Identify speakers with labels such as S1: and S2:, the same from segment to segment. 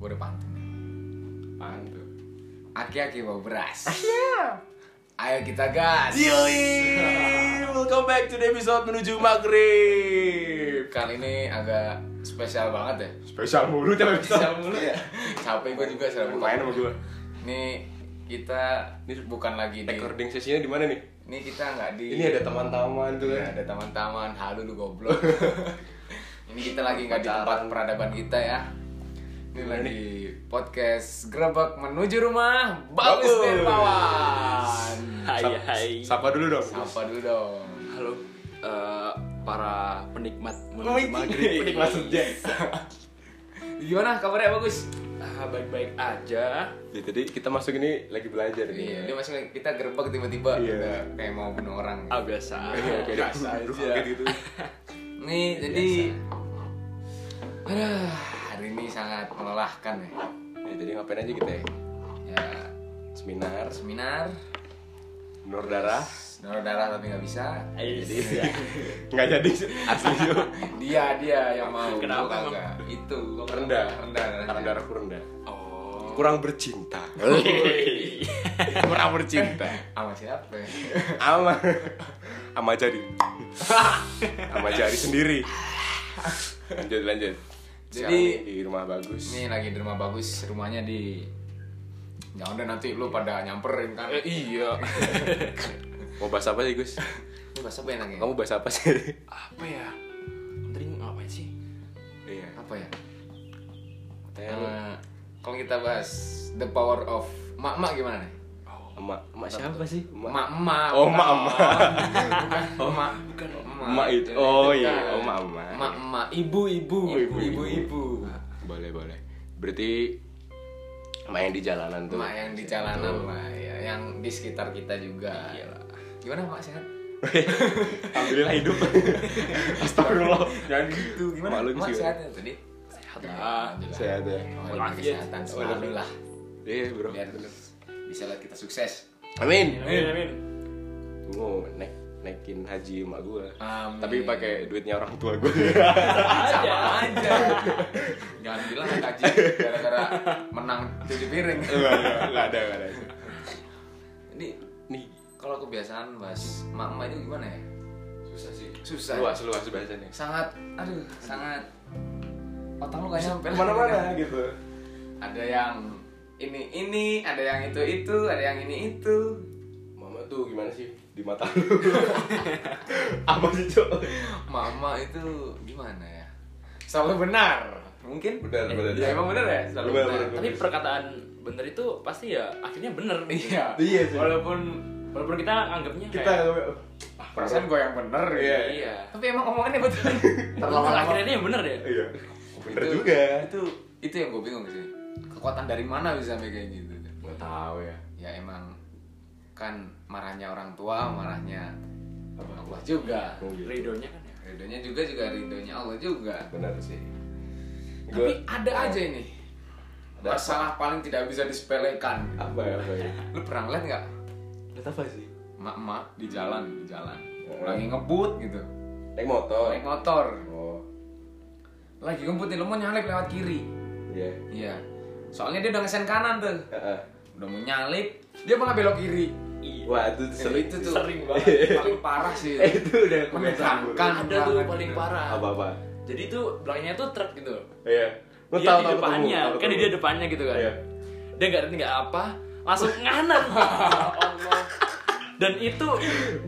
S1: Gue udah pantun.
S2: Apaan tuh? Aki-aki bawa beras. Ayo kita gas.
S1: Yoi, welcome back to the episode menuju maghrib.
S2: Kali ini agak spesial banget ya. Iya.
S1: Spesial mulu tapi spesial mulu ya.
S2: Capek gue juga serabut.
S1: Lumayan sama gue.
S2: Nih kita ini bukan lagi di.
S1: Recording sesinya di mana nih?
S2: Ini kita nggak di.
S1: Ini ada teman-teman tuh
S2: Iya,
S1: kan.
S2: ada taman-taman. Halu lu goblok. ini kita lagi nggak di tempat
S1: Pacaran.
S2: peradaban kita ya. Ini
S1: Gimana
S2: lagi podcast gerebek menuju rumah Bagus
S1: Bagus.
S2: Nirmawan.
S3: Hai
S1: Sap-
S3: hai.
S1: Sapa dulu dong.
S2: Sapa dulu dong.
S3: Halo eh, para penikmat
S1: Wih,
S2: Oh, iya.
S3: menuju maghrib.
S1: penikmat senja.
S2: Gimana kabarnya bagus?
S3: Ah, baik-baik aja.
S1: Ya, tadi kita masuk ini lagi belajar
S2: Iya,
S1: nih.
S2: dia masih kita gerbek tiba-tiba
S1: Iya.
S2: Udah kayak mau bunuh orang. gitu.
S3: Ah biasa.
S1: Oke, oke.
S2: Biasa
S1: Aduh,
S2: aja.
S1: kaget gitu.
S2: Nih, jadi Aduh, hari ini sangat melelahkan ya.
S1: Ya, jadi ngapain aja kita ya?
S2: Ya,
S1: Seminar,
S2: seminar,
S1: nur darah.
S2: donor darah tapi nggak bisa.
S3: Jadi
S1: Nggak jadi. Asli yuk.
S2: Dia dia yang mau.
S3: Kenapa
S2: Gua
S3: emang?
S2: kagak. Itu gua kagak.
S1: Rendah.
S2: rendah,
S1: Karena darahku rendah.
S3: Oh.
S1: Kurang bercinta. Kurang bercinta.
S2: Sama siapa?
S1: Ama ama jari. Ama jari sendiri. Lanjut lanjut. Sekarang
S2: Jadi-
S1: di rumah bagus.
S2: Ini lagi di rumah bagus, rumahnya di Jangan deh nanti lu pada nyamperin kan.
S3: Eh, iya.
S1: Mau bahas apa sih, Gus?
S2: Ini bahasa apa ya enaknya?
S1: Kamu bahas apa sih?
S3: Apa ya? Penting ngapain sih?
S1: Iya.
S2: apa ya?
S1: Tanya lu
S2: Eh, kalau kita bahas the power of mak-mak gimana nih?
S1: emak, emak siapa?
S3: sih?
S1: Emak.
S2: Mak-mak.
S1: Oh, mak-mak.
S2: Oh, mak.
S3: Bukan.
S1: Emak itu. Oh iya, oh mama.
S2: Mak-mak, ibu-ibu,
S1: Ibu,
S2: ibu-ibu.
S1: Boleh, boleh. Berarti emak yang di jalanan tuh.
S2: Mak yang di jalanan lah ya, yang di sekitar kita juga. Gimana mak sehat?
S1: Alhamdulillah hidup. Astagfirullah. Jangan gitu.
S2: Gimana?
S1: Malu
S2: mak
S1: sih.
S2: sehat ya tadi?
S3: Sehat
S2: Ya,
S3: lah.
S2: alhamdulillah.
S1: Ah, Sehat ya.
S2: Oh,
S3: Walafiat.
S2: kesehatan selalu lah.
S1: Iya, Bro.
S2: Biar bisa lihat kita sukses.
S1: Amin.
S3: Amin amin.
S1: Gue mau naik naikin haji emak gue.
S2: Amin.
S1: Tapi pakai duitnya orang tua gue.
S2: sama aja. Jangan bilang gaji gara-gara menang cuci piring.
S1: Iya. Enggak ada, enggak ada.
S2: Ini
S1: Nih,
S2: kalau kebiasaan bahas mak-mak itu gimana ya?
S1: susah sih.
S2: Susah.
S1: Luas, luas bahasanya.
S2: Sangat aduh, sangat otak lu Iya. gak nyampe lah.
S1: Mana-mana gitu.
S2: Ada yang ini ini, ada yang itu itu, ada yang ini itu.
S1: Mama tuh gimana sih di mata lu? Apa sih, Cok?
S2: Mama itu gimana ya? Selalu benar. Mungkin
S1: Benar, benar.
S2: Ya emang benar ya, selalu
S1: Benar,
S2: benar.
S1: benar, benar.
S3: Tapi perkataan bener itu pasti ya akhirnya bener.
S2: Iya.
S1: Iya sih.
S3: Walaupun walaupun kita anggapnya
S1: Kita
S3: kayak
S1: ah,
S2: Perasaan gue yang benar
S1: Iya.
S2: ya.
S3: iya.
S2: Tapi emang omongannya betul.
S3: Bener, akhirnya ini yang bener ya.
S1: Iya. Bener
S2: Itu-
S1: juga.
S2: itu itu yang gue bingung sih kekuatan dari mana bisa sampai kayak gitu
S1: Gak tahu ya.
S2: ya emang kan marahnya orang tua marahnya Allah juga
S3: Ridonya kan ya.
S2: ridhonya juga juga ridhonya Allah juga
S1: Benar sih.
S2: tapi
S1: Gue
S2: ada aja
S3: Iya.
S2: ini
S1: Ada apa?
S2: masalah paling tidak bisa disepelekan
S1: apa ya, apa ya?
S2: lu pernah lihat nggak
S3: Lihat apa sih?
S2: mak mak di jalan di jalan
S3: Iya.
S1: Hmm.
S2: lagi ngebut gitu
S1: Naik motor.
S2: naik motor
S1: Oh,
S2: lagi ngebut nih, lu mau nyalip lewat kiri
S1: iya.
S2: iya soalnya dia udah ngesen kanan tuh
S1: Heeh.
S2: udah mau nyalip dia malah belok kiri
S1: Wah, itu
S2: itu,
S1: seru
S2: Eh, itu tuh Iya.
S3: Sering banget.
S2: paling parah sih
S1: Eh, itu udah kebiasaan gue.
S2: menegangkan
S3: ada tuh
S2: banget.
S3: paling parah.
S1: Apa-apa?
S3: Jadi tuh belakangnya tuh truk gitu.
S1: Iya. Lu tahu
S3: dia di
S1: tahu
S3: depannya,
S1: ketemu, tahu
S3: kan dia
S1: ketemu.
S3: depannya gitu kan.
S1: Iya.
S3: Dia nggak ngerti nggak apa, langsung nganan. Ya Allah. Dan itu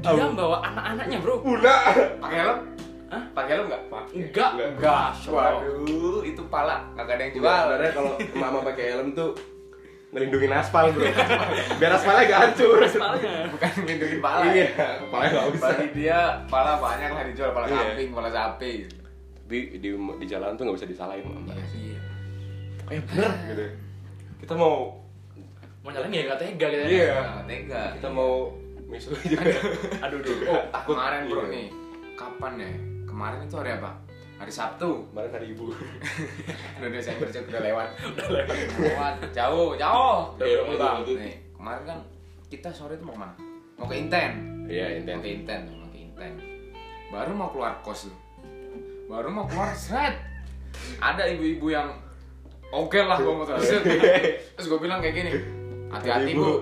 S3: dia bawa anak-anaknya bro.
S1: Udah.
S2: pakai helm
S3: Eh. Hah?
S2: pakai helm nggak pak
S3: Enggak,
S1: Enggak.
S3: enggak.
S2: waduh itu pala nggak ada yang
S1: Cuma
S2: jual
S1: sebenarnya kalau mama pakai helm tuh melindungi aspal, Bro. Biar aspalnya gak hancur.
S3: Soalnya
S2: bukan ngelindungin pala
S1: Iya,
S2: ya.
S1: kepalanya nggak usah.
S2: bagi dia pala banyak lah dijual pala
S1: Iya.
S2: kambing pala sapi
S1: Tapi di di jalan tuh nggak bisa disalahin mama.
S2: iya sih
S1: Eh bener gitu. Kita mau
S3: mau nyalain ya nggak tega gitu. ya.
S1: Iya.
S2: Nggak tega
S1: kita mau misalnya juga.
S3: Aduh, aduh.
S1: Oh, takut.
S2: kemarin bro
S1: Iya.
S2: nih kapan ya kemarin itu hari apa hari Sabtu
S1: Kemarin hari ibu.
S2: udah Desember cek udah lewat udah lewat jauh jauh
S1: Iya,
S2: Jauh,
S1: iya,
S2: Bang.
S1: iya.
S2: nih kemarin kan kita sore itu mau kemana mau ke Inten
S1: Iya,
S2: Mau ke Inten, mau ke Inten. Baru mau keluar kos tuh. Baru mau keluar seret. Ada ibu-ibu yang Oke lah gua mau transit. Terus gua bilang kayak gini, hati-hati
S1: Ibu.
S2: bu.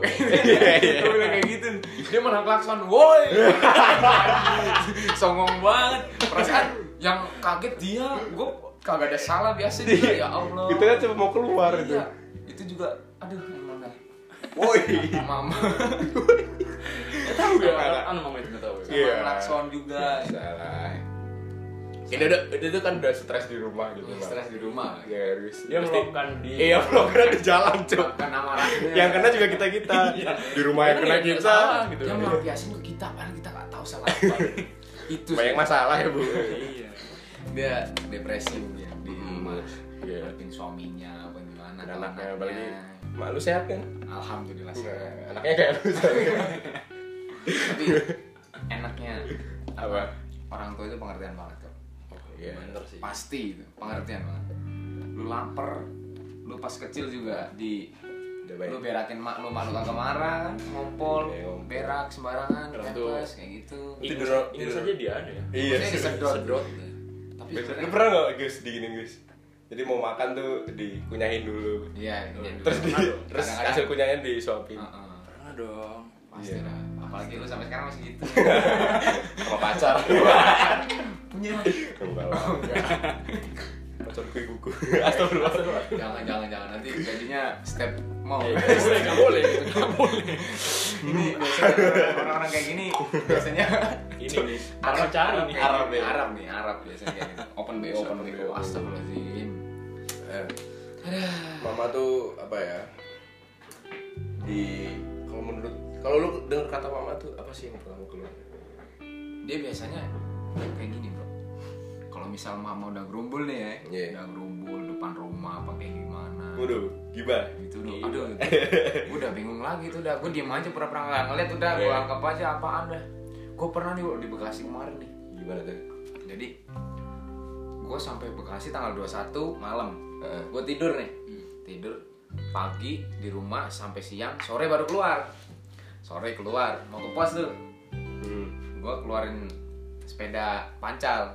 S2: Gua bilang kayak gitu. Dia malah klakson, woi. Songong banget. Perasaan yang kaget dia, gua kagak ada salah biasa juga ya Allah.
S1: Itu kan cuma mau keluar itu.
S2: Iya, itu juga aduh emang dah.
S1: Woi.
S2: Mama
S3: tahu
S2: ya,
S1: Iya.
S3: anu mama itu nggak tahu ya.
S1: Iya.
S2: sama klakson juga.
S1: Salah. Ini udah itu kan udah stres di rumah gitu. Bang.
S2: Iya, Stres di rumah.
S1: Ya, harus.
S3: Dia melakukan di
S1: Iya, vlogger di jalan, Cuk.
S2: Bukan amarahnya.
S1: Yang kena juga kita-kita. Di rumah yang kena
S3: Iya, iya,
S1: kita.
S3: salah gitu.
S2: Dia malah biasin ke kita, padahal kita nggak tahu salah apa. itu sih.
S1: Banyak masalah ya, Bu.
S3: Iya.
S2: dia depresi ya di
S1: Mm.
S2: rumah
S1: Iya.
S2: Ngarepin suaminya apa gimana
S1: Dan
S2: atau
S1: Anaknya
S2: anaknya.
S1: apalagi Iya. mak lu sehat kan?
S2: alhamdulillah sih
S1: Nah, Anaknya kayak lu sehat.
S2: tapi enaknya
S1: Apa?
S2: orang tua itu pengertian banget tuh
S1: Iya.
S3: Bener sih.
S2: pasti itu pengertian banget lu lapar lu pas kecil juga di
S1: Udah baik.
S2: lu berakin mak lu mak lu kagak marah kan ngompol
S1: Iya, ngompol.
S2: berak sembarangan
S3: Orang tua.
S2: pempes kayak gitu
S3: Ingus,
S1: Tidur-
S3: ingus
S1: tidur.
S3: aja dia ada ya.
S1: Iya.
S2: Maksudnya disedot
S3: Sedot.
S2: tapi
S1: Lu
S2: sebenarnya-
S1: pernah nggak Gus diginin Gus? Jadi mau makan tuh dikunyahin dulu.
S2: iya iya dulu.
S1: Terus di
S3: Aduh, Ah.
S1: terus
S2: kadang-kadang.
S1: hasil kunyahin disuapin.
S2: Heeh.
S3: Pernah dong.
S2: pasti
S1: Iya.
S2: lah apalagi lu sampai sekarang masih gitu
S1: Sama pacar.
S2: punya
S1: Enggak. Pacar gue gugu. Astagfirullah.
S2: jangan jangan jangan nanti gajinya step mau
S3: Nggak
S1: Iya,
S3: boleh, nggak boleh. Nggak boleh.
S2: ini biasanya orang-orang kayak gini biasanya
S3: Ini nih. Karena cari nih.
S1: ya.
S2: Arab nih Arab nih Arab biasanya kayak gitu. open bo open bo astagfirullahaladzim Eh,
S1: Mama tuh apa ya? Di kalau menurut kalau lu denger kata mama tuh apa sih yang pertama keluar?
S2: dia biasanya kayak gini bro kalau misal mama udah gerumbul nih ya
S1: Iya.
S2: udah gerumbul depan rumah apa kayak gimana
S1: Waduh, gibah.
S2: gitu udah aduh gitu. Gua udah bingung lagi tuh udah gue diem aja pura-pura nggak ngeliat udah gue
S1: Iya.
S2: anggap aja apaan dah gue pernah nih Bro, di Bekasi kemarin nih
S1: Gimana tuh?
S2: jadi gue sampai Bekasi tanggal 21 malam gue tidur nih tidur pagi di rumah sampai siang sore baru keluar sore keluar mau ke pos tuh
S1: Hmm.
S2: gue keluarin sepeda pancal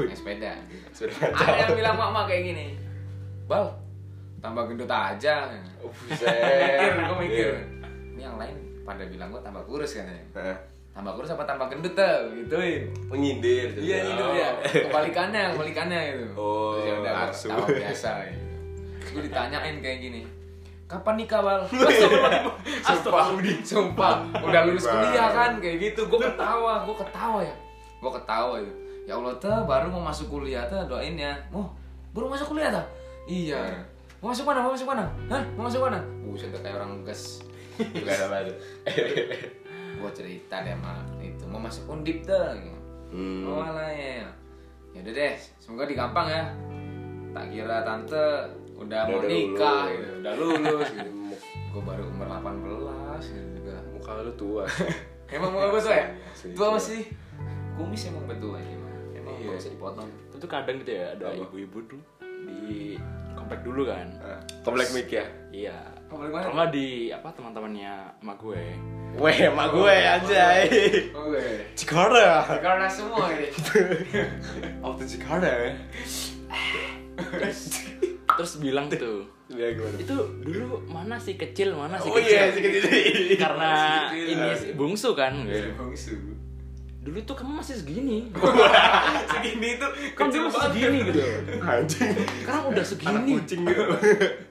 S2: Naik sepeda
S1: Sudah
S2: ada yang bilang mama kayak gini bal tambah gendut aja
S1: Oh,
S2: mikir gue mikir ini yang lain pada bilang gue tambah kurus katanya
S1: Hah?
S2: tambah kurus apa tambah gendut tuh gituin
S1: Menyindir.
S2: Iya gitu ya. Kebalikannya, kebalikannya gitu.
S1: Oh,
S2: Terus ya udah gua
S1: nafsu.
S2: ketawa biasa gitu. Gue ditanyain kayak gini. Kapan nikah, Bal? Iya. sumpah, sumpah. Udah lulus
S1: Bal.
S2: kuliah kan kayak gitu. Gue ketawa, gue ketawa ya. Gue ketawa ya. Ya Allah, teh baru mau masuk kuliah teh doain ya. Mau baru masuk kuliah teh? Iya.
S1: Hmm.
S2: Mau masuk mana? Mau masuk mana? Hah? Mau masuk mana? Buset teh, kayak orang gas.
S1: Gak ada batu.
S2: Gue cerita deh mah itu mau masuk undip teh. gitu. Oh
S1: Hmm.
S2: alah ya. Ya udah deh, semoga di Kampang ya. Tak kira tante udah,
S1: Udah-
S2: mau
S1: udah
S2: nikah,
S1: lulus.
S2: gitu. udah lulus gitu. gue baru umur 18 gitu juga.
S1: Muka lu tua.
S2: Emang mau gue tua ya?
S1: Asli,
S2: Tua
S1: tua.
S2: masih. Kumis emang betul aja emang. Emang
S1: Iya.
S2: gak bisa dipotong.
S3: Itu kadang gitu ya ada
S1: Apa? Eh.
S3: ibu-ibu dulu di komplek dulu kan.
S1: Komplek mic ya.
S3: Iya.
S2: Oh, boleh
S3: Kalau
S2: mana?
S3: nggak di apa teman-temannya sama gue.
S1: Weh, emak gue anjay.
S2: Oke.
S1: Cikara.
S2: Karena semua ini.
S1: Auto Cikara.
S3: Terus bilang tuh
S1: Iya gimana?
S3: itu dulu mana sih kecil mana sih
S1: Oh iya, si
S3: kecil
S1: kecil.
S3: karena
S2: Si kecil.
S3: ini si bungsu kan gue.
S2: Bungsu.
S3: dulu tuh kamu masih segini
S1: Oh,
S2: Segini itu
S3: kamu dulu masih segini gitu
S1: Anjing.
S3: sekarang udah
S1: Anak
S3: segini
S1: kucing gitu.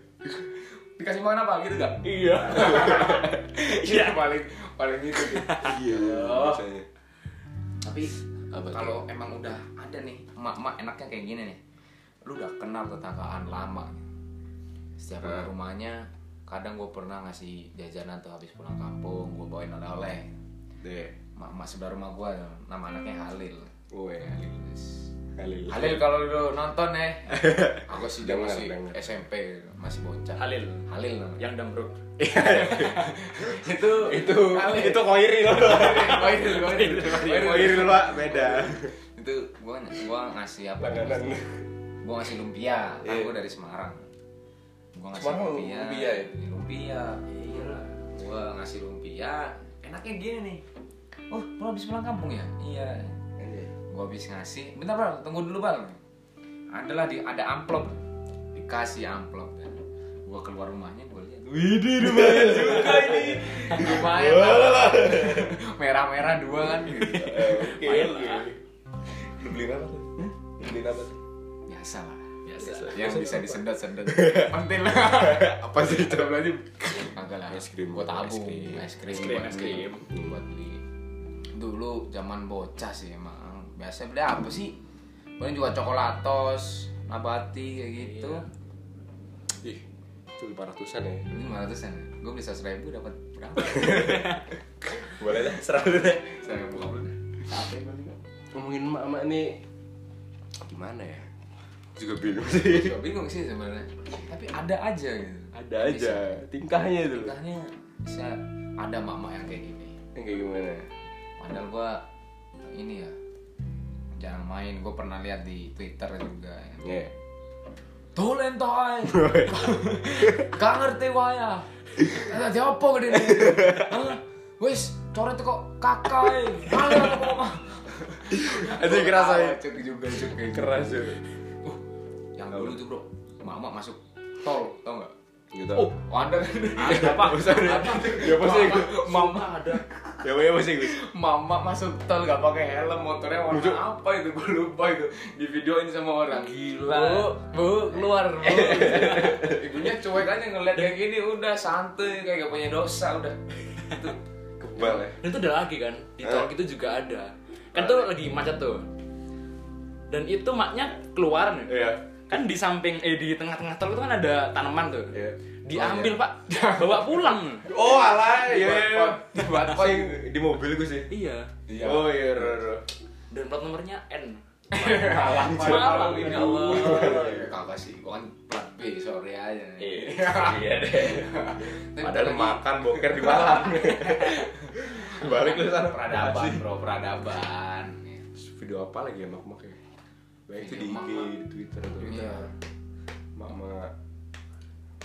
S2: Dikasih makan apa gitu gak?
S3: iya
S2: Iya paling paling itu. gitu.
S1: Iya. biasanya.
S2: tapi
S1: Apa tuh?
S2: kalau emang udah ada nih emak-emak enaknya kayak gini nih lu udah kenal tetanggaan lama setiap
S1: Hah?
S2: ke rumahnya kadang gue pernah ngasih jajanan tuh habis pulang kampung gue bawain oleh-oleh
S1: Deh.
S2: emak sebelah rumah gue nama anaknya Halil
S1: Gue.
S2: Terus,
S1: Oh, iya, Halil.
S2: Halil kalau lu nonton ya aku sih dia
S1: Dengar,
S2: masih
S1: dengar.
S2: SMP masih bocah
S3: Halil Ya.
S2: Halil namanya.
S3: yang dambruk
S2: itu
S1: Itu
S2: Halil.
S1: itu koiri loh.
S2: Koiril, koiril, koiril.
S1: Koiri loh, Pak. Beda.
S2: itu gue gua ngasih apa
S1: Langganan.
S2: gue ngasih lumpia kan
S1: Iya.
S2: gue dari Semarang gue ngasih
S1: Semarang
S2: lumpia
S1: lumpia ya?
S2: Ini lumpia iya gue ngasih lumpia enaknya gini nih oh lo habis pulang kampung ya iya gue habis ngasih bentar bal tunggu dulu bal adalah di ada amplop di dikasih amplop kan gua keluar rumahnya gua lihat
S1: Widih lumayan juga ini.
S2: lumayan merah merah dua kan gitu.
S1: Oke.
S3: Lumayan
S1: oke.
S3: lah.
S1: Lu beli apa tuh? Lu beli apa tuh?
S2: biasa lah
S3: Biasa.
S2: yang bisa disedot sedot pentil lah
S1: Apa sih itu?
S2: Udah belanja Kagak lah
S1: Es krim,
S2: Buat
S1: es
S2: tabung
S1: krim.
S2: Es krim
S3: Es krim,
S2: buat
S3: es
S2: beli.
S3: krim.
S2: Buat beli Dulu zaman bocah sih emang Biasa beli apa sih? Paling juga coklatos Nabati kayak gitu
S1: Ih, itu 500-an ya.
S2: Ini 500 an Gue beli 100 ribu dapat berapa?
S1: Boleh lah, serah lu deh.
S2: Saya buka dulu
S1: Ngomongin emak-emak nih gimana ya? Juga bingung sih.
S2: Gue bingung sih sebenarnya Tapi ada aja gitu
S1: Ada aja tingkahnya itu. loh.
S2: Tingkahnya bisa Ada mama yang kayak gini
S1: Yang kayak gimana?
S2: Padahal gua ini ya jarang main, gue pernah lihat di Twitter juga ya.
S1: Ya.
S2: Tolentoi. Gak ngerti waya. Ada apa gede ini? Hah? Wis, coret kok kakai. Mana ada apa-apa.
S1: Itu ngerasain.
S2: Cuk juga cuk kayak gitu.
S1: Keras tuh.
S2: Uh, yang dulu tuh, Bro. Mama masuk tol, tau enggak?
S1: Gitu. Oh,
S2: Oh, ada kan?
S3: Ada apa?
S2: Ada.
S1: Ya, apa sih?
S2: Mama ada.
S1: Ya apa ya masih gue.
S2: Mama masuk tol gak pakai helm motornya warna apa itu gue lupa itu di videoin sama orang
S3: Gila.
S2: bu bu keluar bu ibunya cuek aja ngeliat kayak gini udah santai kayak gak punya dosa udah itu
S1: Kebal ya.
S3: Dan itu ada lagi kan, di
S1: Eh.
S3: tol gitu juga ada. Kan tuh lagi macet tuh. Dan itu maknya keluar nih.
S1: Iya.
S3: Kan di samping eh di tengah-tengah tol itu kan ada tanaman tuh.
S1: Iya.
S3: Diambil, Pak. Bawa pulang.
S1: Oh alay, ya.
S2: Di Batpon.
S1: di mobil gue sih.
S3: iya.
S2: Iya.
S1: Oh iya, ro, ro.
S3: Dan plat nomornya N.
S2: malah
S3: Malang,
S2: ini
S3: ya
S2: Allah
S3: Allah.
S2: kakak sih gue kan plat B sore aja nih
S1: Iya deh.
S2: Tapi
S1: Padahal
S2: lagi-
S1: makan boker di malam. Balik lu sana.
S2: peradaban bro peradaban ya.
S1: Video apa lagi ya mak-mak ya? Baik itu di
S2: Video
S1: IG,
S2: mak-mak.
S1: di Twitter, atau
S2: Iya.
S1: Twitter. Mak-mak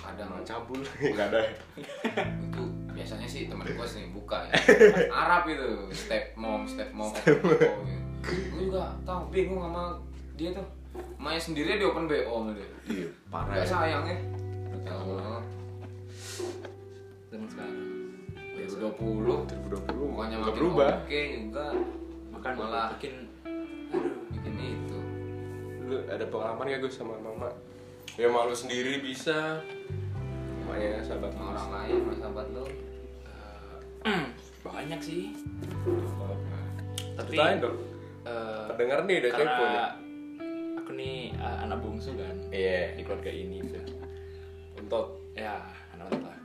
S2: kadang
S1: mak cabul nggak ada. ya?
S2: itu biasanya sih temen gue sering buka ya. Arab itu step mom step mom gue juga tahu bingung sama dia tuh main sendiri di open bo gitu
S1: Iya.
S2: parah gak sayang ya Ya Allah.
S3: Zaman sekarang.
S2: 2020
S1: 2020
S2: bukannya
S1: nggak
S2: makin
S1: berubah.
S2: oke juga
S3: Makan
S2: Malah.
S3: malah bikin
S2: bikin itu
S1: Lu ada pengalaman gak gue sama mama? Ya malu sendiri bisa. Makanya sahabat
S2: sama
S1: orang.
S2: orang lain sama sahabat lo
S3: Hmm, banyak sih. Tapi
S1: Ceritain dong.
S3: eh,
S1: Terdengar nih udah kepo
S3: karena
S1: nih.
S3: aku nih eh, anak bungsu kan
S1: Iya.
S3: di keluarga ini gitu.
S1: Untuk
S3: ya anak untut lah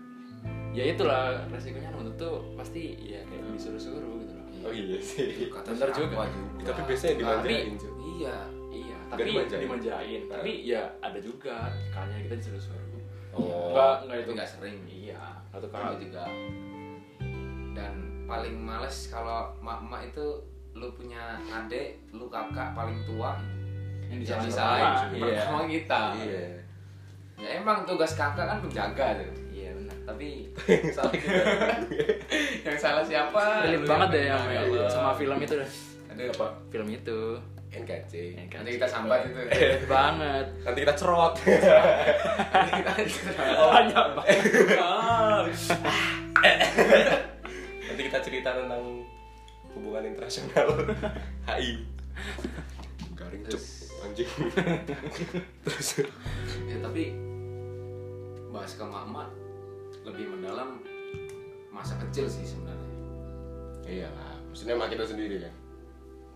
S3: ya itulah resikonya anak untut tuh pasti ya kayak disuruh-suruh gitu loh
S1: Oh iya sih.
S2: kata
S3: Bener
S2: siapa
S3: juga.
S1: Tapi biasanya dimanjain,
S3: Tapi-
S1: cuy.
S2: iya
S3: iya
S1: Gak
S3: tapi
S1: dimanjain.
S3: dimanjain, tapi ya ada juga kayaknya kita disuruh-suruh
S1: Oh.
S3: nggak nggak
S2: itu
S3: itu
S2: nggak sering
S3: iya nggak tuh
S2: kalau
S3: kalau
S2: juga dan paling males kalau mak-mak itu lu punya adik, lu kakak paling tua
S3: yang
S2: yang disalahin
S3: disalahin sama orang.
S2: pertama kita.
S1: Iya.
S2: Ya emang tugas kakak kan menjaga tuh.
S3: iya benar
S2: Tapi salah kita. yang salah siapa?
S3: relate
S2: Lu
S3: banget deh
S2: yang
S3: sama
S2: kena,
S1: Iya.
S2: ya Allah.
S3: sama Iya film itu deh
S2: Aduh apa?
S3: film itu
S1: NKC.
S2: Nanti kita sambat itu.
S3: kan? Relate banget
S1: Nanti kita cerot.
S2: Nanti kita
S1: Oh.
S3: banyak banget
S1: Nanti kita cerita tentang hubungan internasional HI. Garing cuk anjing. Terus
S2: ya tapi bahas ke mama lebih mendalam masa kecil sih sebenarnya
S1: iya lah, maksudnya sama kita sendiri kan.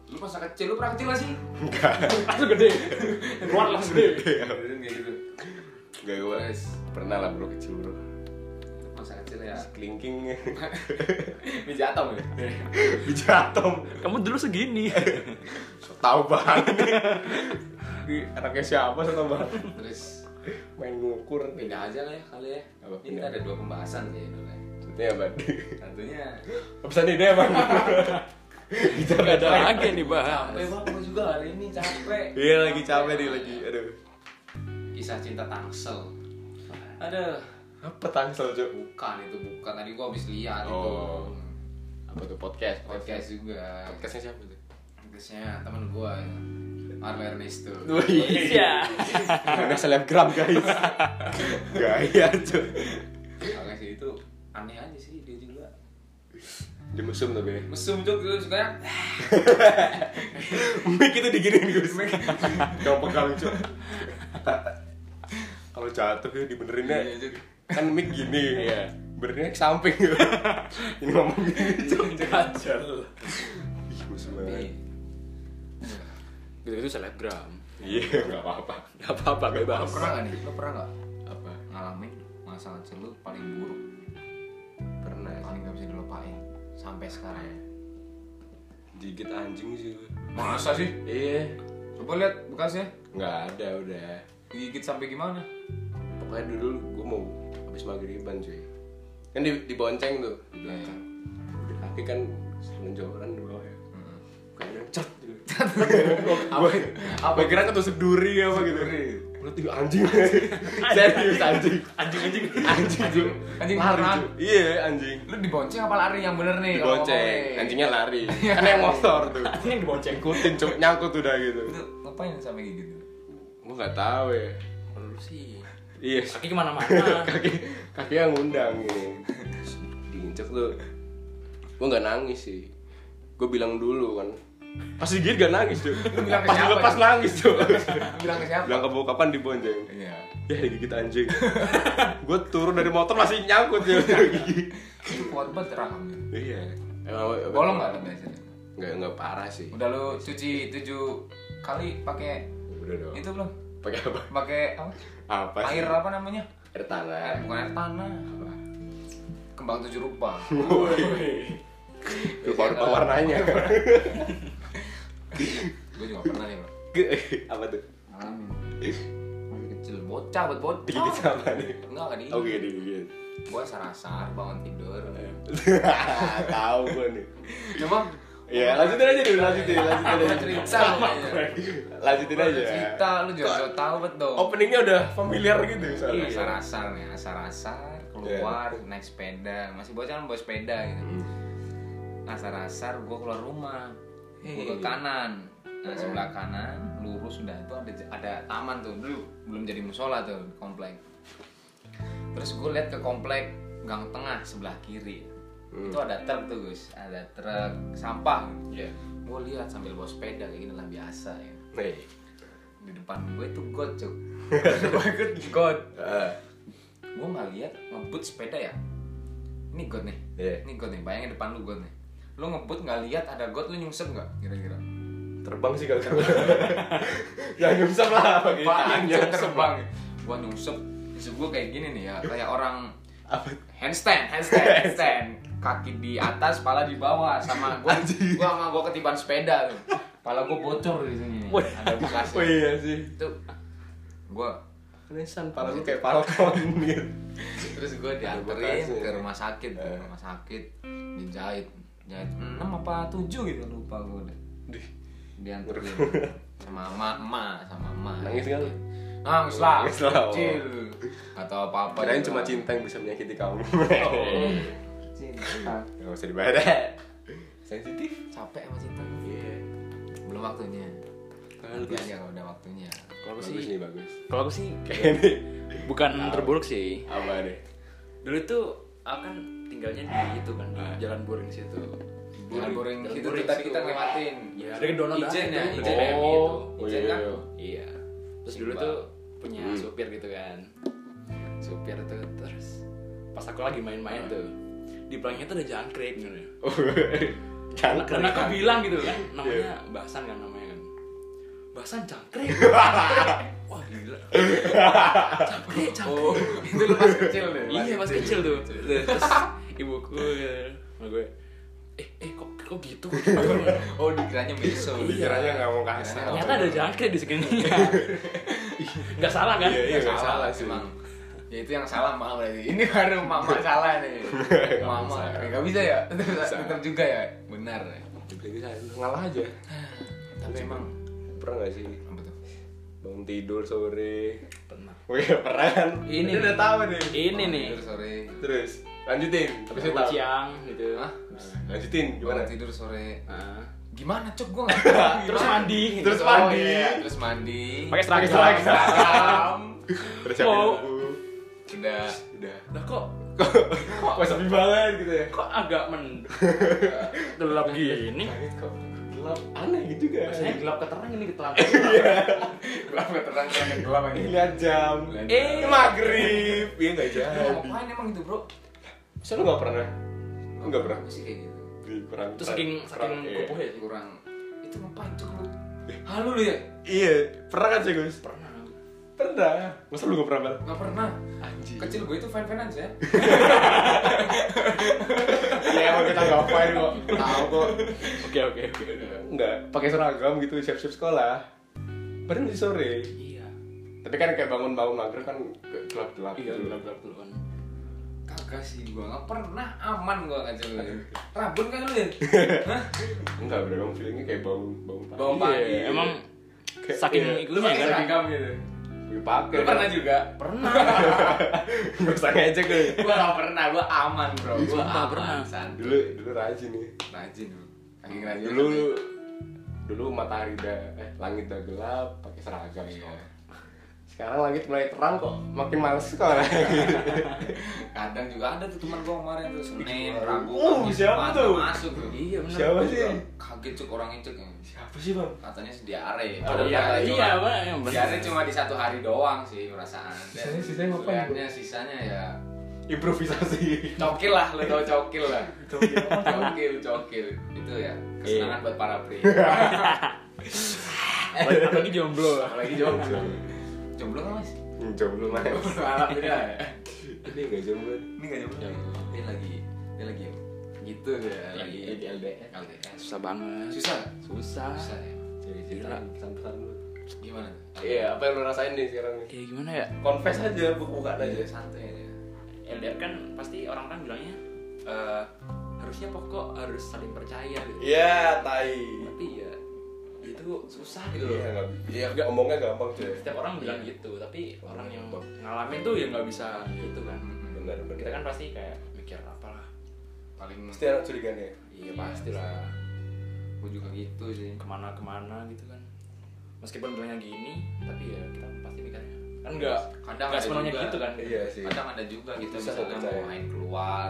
S2: lu masa kecil lu pernah kecil gak sih
S3: langsung gede keluar langsung gede
S2: Beneran kayak gitu
S1: Iya. Gak gue
S2: Guys.
S1: pernah lah bro kecil bro.
S2: masa kecil ya
S1: Kelingking
S2: biji atom ya
S1: biji atom.
S3: kamu dulu segini
S1: Tahu banget. Di anaknya siapa sih tahu banget.
S2: terus
S1: Main ngukur.
S2: pindah aja lah ya kali ya
S1: Apa
S2: ini
S1: pindah?
S2: ada dua pembahasan sih dulu ya
S1: Maksudnya apa?
S2: tentunya
S1: Pesan ide bang.
S3: nggak ada lagi nih
S2: capek
S3: bahas
S2: banget gua juga hari ini capek
S1: Iya lagi capek nih lagi. Aduh.
S2: kisah cinta tangsel aduh
S1: Apa tangsel cuk?
S2: bukan itu bukan tadi gua habis lihat itu
S1: Oh. Apa tuh podcast?
S2: podcast juga
S1: Podcastnya siapa tuh?
S2: Podcastnya temen gue ya. Marlo Ernesto
S3: Iya.
S1: Ada selebgram guys. Gaya tuh.
S2: Makanya sih itu aneh aja sih dia juga
S1: Di mesum tapi ya.
S2: mesum juga gitu sukanya
S1: Mic itu diginiin Gus. Jangan pegang Cuk. Kalau jatuh ya dibenerinnya.
S2: Iya, Cuk.
S1: Kan mic gini. Iya. Benerinnya ke samping. Ini ngomong gini Cuk.
S3: Jajal.
S1: Ih, mesum banget.
S3: Gitu itu selebgram.
S1: Iya, enggak apa-apa.
S3: Gak apa-apa
S2: lo
S3: bebas.
S2: pernah nggak nih lo pernah nggak
S1: Apa?
S2: ngalamin masa kecil lo paling buruk
S1: Pernah
S2: paling nggak bisa dilupain sampai sekarang
S1: digigit anjing sih gue.
S2: masa sih
S1: Iya.
S2: coba lihat bekasnya
S1: Nggak ada udah.
S2: gigit sampai gimana
S1: Pokoknya dulu gue mau habis maghriban cuy. Kan di, dibonceng tuh di belakang. Udah kaki kan selonjoran di bawah ya.
S2: Hmm.
S1: Kayaknya cat gitu.
S2: apa
S1: apa kira ketusuk duri apa gitu lu tiga anjing serius anjing
S3: Anjing-anjing.
S1: anjing anjing
S2: Anjing
S1: lari
S2: beneran.
S1: Ju. iya anjing
S2: lu dibonceng apa lari yang bener nih kalau
S1: dibonceng
S2: ngomongnya?
S1: anjingnya lari kan yang motor tuh
S3: Anjing yang dibonceng.
S1: ikutin cuk nyangkut udah gitu
S2: itu ngapain sampai gigit itu
S1: gua nggak tahu ya
S3: Lu sih.
S1: iya
S3: Kaki kemana-mana.
S1: kaki kaki yang ngundang gini Terus diinjek tuh gua nggak nangis sih gua bilang dulu kan pas digigit gak nangis tuh
S2: bilang ke
S1: pas
S2: siapa,
S1: lepas
S2: Ju?
S1: nangis tuh
S2: Lu bilang ke siapa
S1: bilang ke bokapan dibonceng
S2: iya
S1: ya digigit anjing gue turun dari motor masih nyangkut ya gigi
S2: itu kuat banget rahang
S1: iya emang
S2: bolong nggak lo biasanya
S1: nggak nggak parah sih
S2: udah lu cuci tujuh kali pakai
S1: udah dong
S2: itu belum
S1: pakai apa
S2: pakai apa
S1: apa sih
S2: air apa namanya
S1: air tanah
S2: air bukan air tanah
S1: Apa?
S2: kembang tujuh rupa
S1: itu baru pewarnanya
S2: gue juga pernah ya, nih bro
S1: apa tuh
S2: ngalamin masih kecil bocah buat bocah
S1: Digigit apa nih?
S2: enggak kan ini
S1: oke Iya. digigit
S2: gue sarasar bangun tidur
S1: tahu gue nih
S2: coba
S1: Iya, lanjutin aja dulu, lanjutin, lanjutin aja.
S2: Gua cerita makanya.
S1: Lanjutin aja. ya. Oh,
S2: cerita lu juga tahu betul dong Iya,
S1: Openingnya udah familiar gitu soalnya.
S2: asar-asar nih asar-asar keluar
S1: Iya.
S2: naik sepeda masih bocah kan bawa sepeda gitu asar-asar gue keluar rumah gue ke kanan nah sebelah kanan lurus sudah itu ada ada taman tuh dulu belum jadi musola tuh komplek terus gue lihat ke komplek gang tengah sebelah kiri itu ada truk tuh guys ada truk sampah
S1: Iya.
S2: gue lihat sambil bawa sepeda kayak gini lah biasa ya
S1: Nih.
S2: di depan gue itu got cuk gue ikut got
S1: Eh,
S2: gue nggak lihat ngebut sepeda ya ini got nih
S1: Iya.
S2: ini got nih bayangin depan lu got nih lu ngebut nggak lihat ada got lu nyungsep nggak kira-kira
S1: terbang sih kalau ya nyungsep lah pakai tangan
S2: Apaan,
S1: Iya, nyungsep.
S2: cuk, terbang gue nyungsep nyungsep gue kayak gini nih ya kayak orang
S1: apa
S2: handstand handstand handstand kaki di atas pala di bawah sama gue gue sama gue ketiban sepeda tuh pala gue bocor di sini nih. ada bekas
S1: oh iya sih
S2: itu gue
S1: Resan pala lu kayak palkon gitu
S2: terus gue dianterin ke
S1: bekasnya.
S2: rumah sakit ke
S1: Eh.
S2: rumah sakit dijahit jahit enam apa tujuh gitu lupa gue deh
S1: Dih,
S2: dianterin sama emak emak sama emak
S1: nangis kan
S2: nangis lah
S1: Nangis lah, oh.
S2: kecil atau apa apa
S1: padahal cuma cinta yang bisa menyakiti kamu
S2: Oh. cinta
S1: nggak usah dibahas sensitif
S2: capek sama cinta
S1: iya
S2: belum waktunya
S1: Kalau
S2: nanti
S1: bagus.
S2: aja kalau udah waktunya
S3: Kalau aku
S1: bagus
S3: sih
S1: nih bagus
S3: kalau aku sih
S1: kayak ini
S3: bukan terburuk sih.
S1: apa nih
S3: Dulu tuh aku kan tinggalnya di itu kan di Jalan Boring situ.
S2: Jalan boring
S3: Jalan
S2: itu
S3: Boring
S2: tadi
S3: situ.
S2: kita ngelewatin
S3: Ya, dari Donald
S2: ijen ya
S3: Duck.
S2: ijen
S3: Oh.
S2: BMI itu
S1: oh
S2: ijen
S1: iya
S2: kan
S1: iya
S3: Iya. Terus dulu
S2: Simba.
S3: tuh punya supir gitu kan. Supir tuh terus pas aku lagi main-main tuh di pelangnya tuh ada jangkrik gitu.
S1: Oh,
S3: Karena,
S1: jangan
S3: karena aku
S1: keren.
S3: bilang gitu kan namanya Basan kan namanya kan. Basan jangkrik. Wah gila. Jangkrik,
S1: Oh.
S3: jangkrik.
S2: itu lu pas kecil deh
S3: Iya pas kecil tuh. Terus ibuku ya, sama gue. Eh, eh kok kok gitu?
S2: oh dikiranya miso
S1: pikirannya Iya, nggak mau kasar
S3: Ternyata ada jangkrik di segini. Gak salah kan?
S1: Iya, iya.
S2: Nggak
S1: nggak salah
S2: salah
S1: sih.
S2: sih mang ya itu yang salah mama berarti ini baru mama salah nih mama
S1: bisa.
S2: nggak bisa ya tetap tetap juga ya benar ya.
S1: ngalah aja
S2: tapi emang
S1: pernah nggak sih
S2: apa tuh
S1: bangun tidur sore
S3: Tenang.
S1: Wih, pernah kan? Dia
S3: Ini nih.
S1: udah tahu nih.
S3: Ini
S2: Bangun
S3: nih.
S2: tidur sore
S1: Terus lanjutin, habis itu
S3: Sampai
S1: tahu.
S3: siang gitu.
S2: Hah?
S1: Lanjutin
S2: Bangun
S1: gimana?
S2: tidur sore
S3: Ah.
S2: gimana cuk gue nggak
S3: Terus mandi.
S1: Terus
S2: Oh,
S1: mandi.
S2: iya. terus mandi
S3: Pakai seragam.
S1: Pakai
S2: seragam
S1: Terus siapin
S3: Mau.
S1: buku.
S2: udah
S1: Udah.
S3: Lah kok
S1: Kok sepi banget gitu ya.
S3: kok agak men gelap gini?
S1: Langit kok gelap aneh gitu kan.
S3: Biasanya gelap keterang ini keterang.
S2: gelap nggak terang terang gelap ini
S1: Lihat jam.
S2: Lihat
S1: Eh,
S2: jam.
S1: maghrib. Iya nggak
S2: Lu
S1: jadi.
S2: ngapain emang itu bro
S1: Masa lu nggak pernah? Nggak pernah.
S2: Gua sih kayak gitu
S1: Di perang.
S3: Itu saking saking
S1: perang, iya.
S3: kupuhnya sih.
S2: kurang itu ngapain cuk lu halu lu ya
S1: Iya, pernah kan sih Gus?
S3: Pernah.
S1: Pernah. Masa lu nggak pernah? Bal?
S2: nggak pernah
S1: Anjing.
S2: kecil gue itu fan fan aja
S1: Iya, emang kita nggak fine kok.
S2: tahu kok
S3: Oke oke oke.
S1: Nggak. Pakai seragam gitu, siap-siap sekolah. Baru di sore.
S3: Iya.
S1: Tapi kan kayak bangun-bangun maghrib kan ke- gelap-gelap.
S3: Iya
S1: gitu.
S3: gelap-gelap duluan.
S2: kagak sih gue nggak pernah aman gue ngajak lu rabun kan lu ya Hah?
S1: Enggak, bro. Emang feelingnya kayak bangun bangun pagi.
S2: Bangun pagi.
S3: Iya, emang
S1: Kayak-
S3: saking
S1: iya.
S3: itu
S2: lu
S3: kan
S2: pakai seragam gitu
S1: Gue pakai.
S2: lu pernah juga
S3: pernah.
S1: Bersang aja gue.
S2: gue nggak pernah gue aman bro
S1: Iya,
S2: gue
S3: Sumpah,
S2: aman
S3: pernah.
S2: san
S1: Dulu dulu rajin nih.
S2: rajin lu kaki
S3: Iya.
S2: rajin kan, ya.
S1: Dulu dulu matahari udah eh langit udah gelap pakai
S3: Iya.
S1: seragam sekolah. Sekarang langit mulai terang kok, makin males sekolah.
S2: kadang juga ada tuh teman gue kemarin tuh senin
S1: Ih,
S2: rabu
S1: oh,
S2: Kamis,
S1: siapa
S2: Jumat,
S1: tuh?
S2: masuk bro
S3: Iya benar.
S1: Siapa sih?
S2: kaget cuk orang itu kan
S1: Siapa sih, Bang?
S2: katanya sih diare
S1: Oh,
S2: Padahal
S1: iya,
S2: katanya
S3: iya,
S2: cuma-
S3: Bang, yang bener.
S2: diare cuma di satu hari doang sih perasaan
S1: Sisanya- sisanya ngapain, Bro?
S2: Sebenarnya sisanya ya
S1: Improvisasi.
S2: cokil lah lu tau cokil lah cokil cokil itu
S3: Iya.
S2: ya kesenangan buat para pria
S3: Apalagi jomblo lah.
S2: apalagi jomblo jomblo kan mas
S1: Hmm, Jomblo mah.
S2: jomblo alhamdulillah ya
S1: Ini enggak jomblo.
S2: ini nggak jomblo ini lagi ini lagi gitu deh lagi
S3: Iya.
S1: Lagi LDR.
S2: LDR
S3: Susah banget.
S2: susah nggak?
S3: Susah.
S2: susah ya
S1: Jadi cerita pesan-pesan lu.
S2: gimana
S1: Iya, apa yang lu rasain nih sekarang nih?
S3: Ya gimana ya?
S1: Confess aja, buka-bukaan
S2: ada
S1: aja.
S3: Iya.
S2: santai aja
S3: LDR kan pasti orang-orang bilangnya eh, harusnya pokok harus saling percaya gitu.
S1: Iya, tai.
S3: Tapi ya itu susah gitu loh.
S1: Iya, nggak- iya, nggak- ngomongnya gampang cuy.
S3: Setiap orang bilang gitu, tapi orang yang ngalamin tuh ya nggak bisa gitu kan.
S1: Benar,
S3: Kita
S1: benar.
S3: kan pasti kayak mikir apalah.
S2: paling
S1: Pasti ada curiga nih.
S3: Iya pasti lah.
S2: gue juga gitu sih
S3: Kemana-kemana gitu kan. Meskipun bilangnya gini, tapi ya kita pasti mikirnya kan nggak
S2: Kadang
S3: nggak
S2: ada
S3: sepenuhnya
S2: juga.
S3: gitu kan. Iya.
S1: Iya sih.
S2: kadang ada juga gitu
S1: Susah
S2: misalnya
S1: percaya.
S3: ya.
S2: mau main keluar